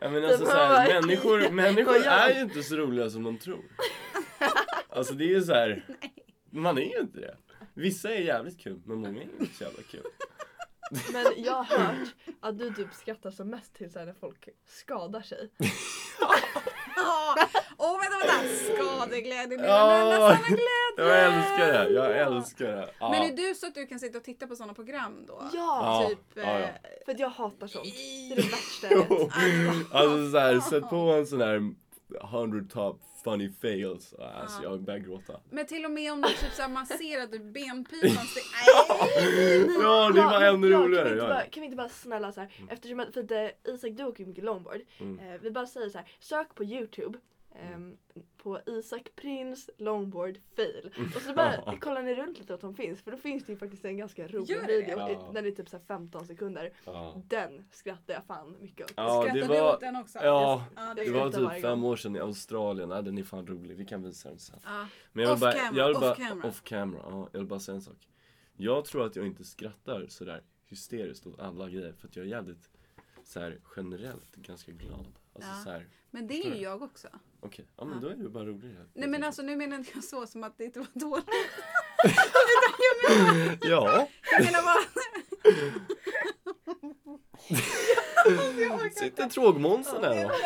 Ja, men alltså, Det så var här, verkligen- människor, människor Vad gör är de? ju inte så roliga som de tror. Alltså det är ju så här. Man är ju inte det. Vissa är jävligt kul, men många är ju inte så jävla kul. Men jag har hört att du typ skrattar som mest till så här när folk skadar sig. Åh, vänta, vänta! Skadeglädje. Det Ja. är nästan en glädje. Jag älskar det, jag älskar det. Ja. Men är du så att du kan sitta och titta på sådana program då? Ja! Typ, Ja, ja. eh, För att jag hatar sånt. Det är det i- värsta jag vet. Alltså så här, sätt på en sån här 100 top funny fails. Alltså Ja. jag börjar gråta. Men till och med om du typ så här masserar du *laughs* benpipan. så- Nej! Ja, det var ännu men jag- roligare. Kan vi, Ja, inte ja. bara, kan vi inte bara snälla så här, eftersom att, för att eh, Isak du åker ju mycket longboard. Mm. Eh, vi bara säger så här, sök på youtube ehm, på Isak Prins longboard fail. Och *laughs* så bara kollar ni runt lite att de finns för då finns det ju faktiskt en ganska rolig Gör det? video. Ja. i- Den är typ så här 15 sekunder. Ja. Den skrattar jag fan mycket åt. Ja, Skrattar det du var- åt den också? Ja, ja Det det var skrattar typ varje fem gång. år sedan i Australien. Ja, den är fan rolig. Vi kan visa den sen. Ja. Men jag vill Off bara, camera, jag vill off bara, camera. Off camera. Ja, jag vill bara säga en sak. Jag tror att jag inte skrattar sådär hysteriskt åt alla grejer för att jag är jävligt såhär generellt ganska glad. Alltså Ja. såhär, Men det är Förstår ju du? jag också. okej, ja men Ja. då är du bara rolig. Här. Nej men alltså nu menar inte jag så som att det inte var dåligt. alltså- Ja, Jag menar bara... sitter trågmånsen här då. *laughs*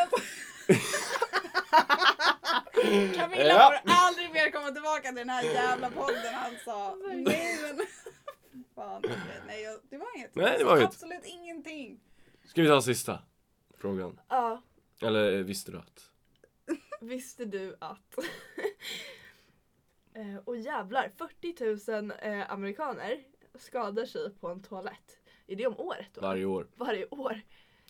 Camilla Ja. får aldrig mer komma tillbaka till den här jävla podden alltså. Nej men... Fan, nej, jag, det var inget. Nej, det var inget. Absolut ingenting. Ska vi ta sista frågan? Ja, Eller eh, visste du att? visste du att... *laughs* Eh, och jävlar, 40 000 eh, amerikaner skadar sig på en toalett. Är det om året då? Varje år. varje år.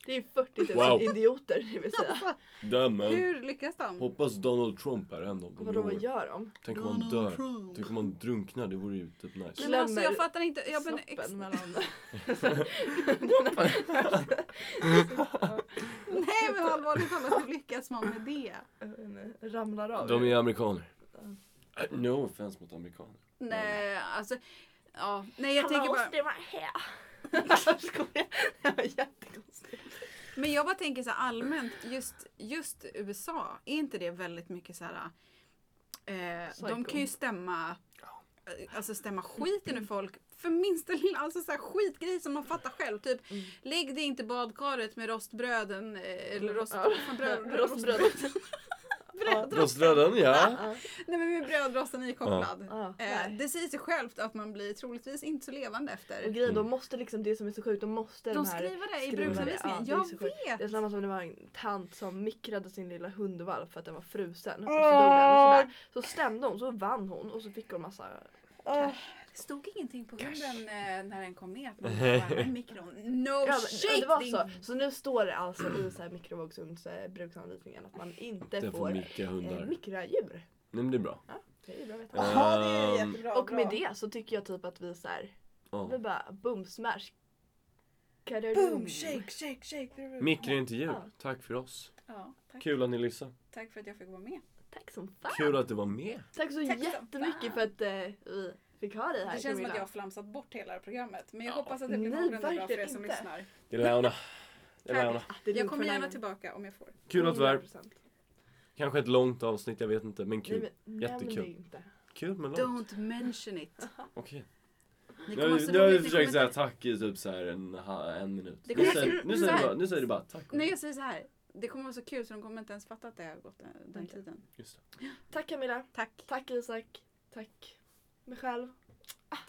Det är 40 000 Wow. idioter det vill *laughs* säga. Dömen. Hur lyckas de? Hoppas Donald Trump är en av dem i Vadå vad år. gör de? Tänk om han dör. Tänk om han drunknar, det vore ju typ nice. Nej, men alltså, Klämmer jag fattar inte. Jag men, ex, Snoppen *laughs* mellan... nej men allvarligt talat, hur lyckas man med det? Jag vet inte, Ramlar av. De är amerikaner. Eh, No offense mot amerikaner. Nej alltså. Ja, nej jag tänker bara. *laughs* Jag skojar. Det var jättekonstigt. Men jag bara tänker så här allmänt, just, just USA, är inte det väldigt mycket så här... Eh, de Psycho. kan ju stämma, eh, alltså stämma skiten ur folk för minsta lilla alltså så här skitgrej som man fattar själv. Typ, Mm. lägg dig inte i badkaret med rostbröden, eh, eller rost, Mm. Ja. fan, bröd, *laughs* Rostbröd. bröd, Rostbröden, ja. Ja. *laughs* nej men med brödrosten ikopplad. Ja. Eh, Nej. det säger sig självt att man blir troligtvis inte så levande Och efter. grejen, de måste liksom det som är så sjukt, de måste De den här skriver det i skriver det. bruksanvisningen. Ja, det är jag så sjukt. vet! Det är samma som det var en tant som mikrade sin lilla hundvalp för att den var frusen. Och så, dog den. Och så, bara, så stämde hon, så vann hon och så fick hon massa Det stod ingenting på hunden eh, när den kom med. *laughs* att man skulle värma i Mikron. No Ja, men, Oh, shit! det var din- så. Så nu står det alltså i så här mikrovågsugnsbruksanvisningen att man inte Den får får micka eh, hundar. Nej mikra djur. men det är bra. Det är ju bra att veta. Ja, det är Ehm, jättebra. och med bra. det så tycker jag typ att vi så här, ja. vi bara boom smash. Kaderum. Boom, shake, shake, shake. Mikro intervju. Ja. Tack för oss. Ja, tack. Kul att ni lyssnade. tack för att jag fick vara med. Tack som fan. Kul att du var med. Tack så Tack som jättemycket fan. för att eh, vi fick ha dig här Det känns som Camilla. att jag har flamsat bort hela det här programmet. Men jag Ja. hoppas att det blir Nej, någorlunda bra för er verkligen som inte. lyssnar. Det är Launa. Det är Launa. Ah, det är Jag lugnt kommer för gärna mig. tillbaka om jag får. Kul att du är 100%. Kanske ett långt avsnitt, jag vet inte. Men Nej, kul. men, nämn det Jättekul. inte. Kul men långt. Don't mention it. Okej. Nu Ni kommer, har alltså, vi- nu har ni vi kommer försökt inte- säga tack i typ så här en, ha- en minut. Det Nu kommer- säger, nu, säger du bara, nu säger du bara tack. Nej jag säger så här. Det kommer vara så kul så de kommer inte ens fatta att det har gått den, den Okej. tiden. Just Tack Camilla. Tack. Tack Isak. Tack mig själv.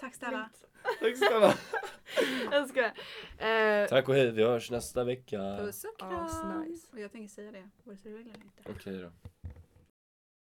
Tack Stella. det. Tack *laughs* snälla. Jag skojar. Eh, Tack och hej, vi hörs nästa vecka. Puss och kram. Asnice. Och jag tänker säga det vare sig du vill eller inte. Okej då.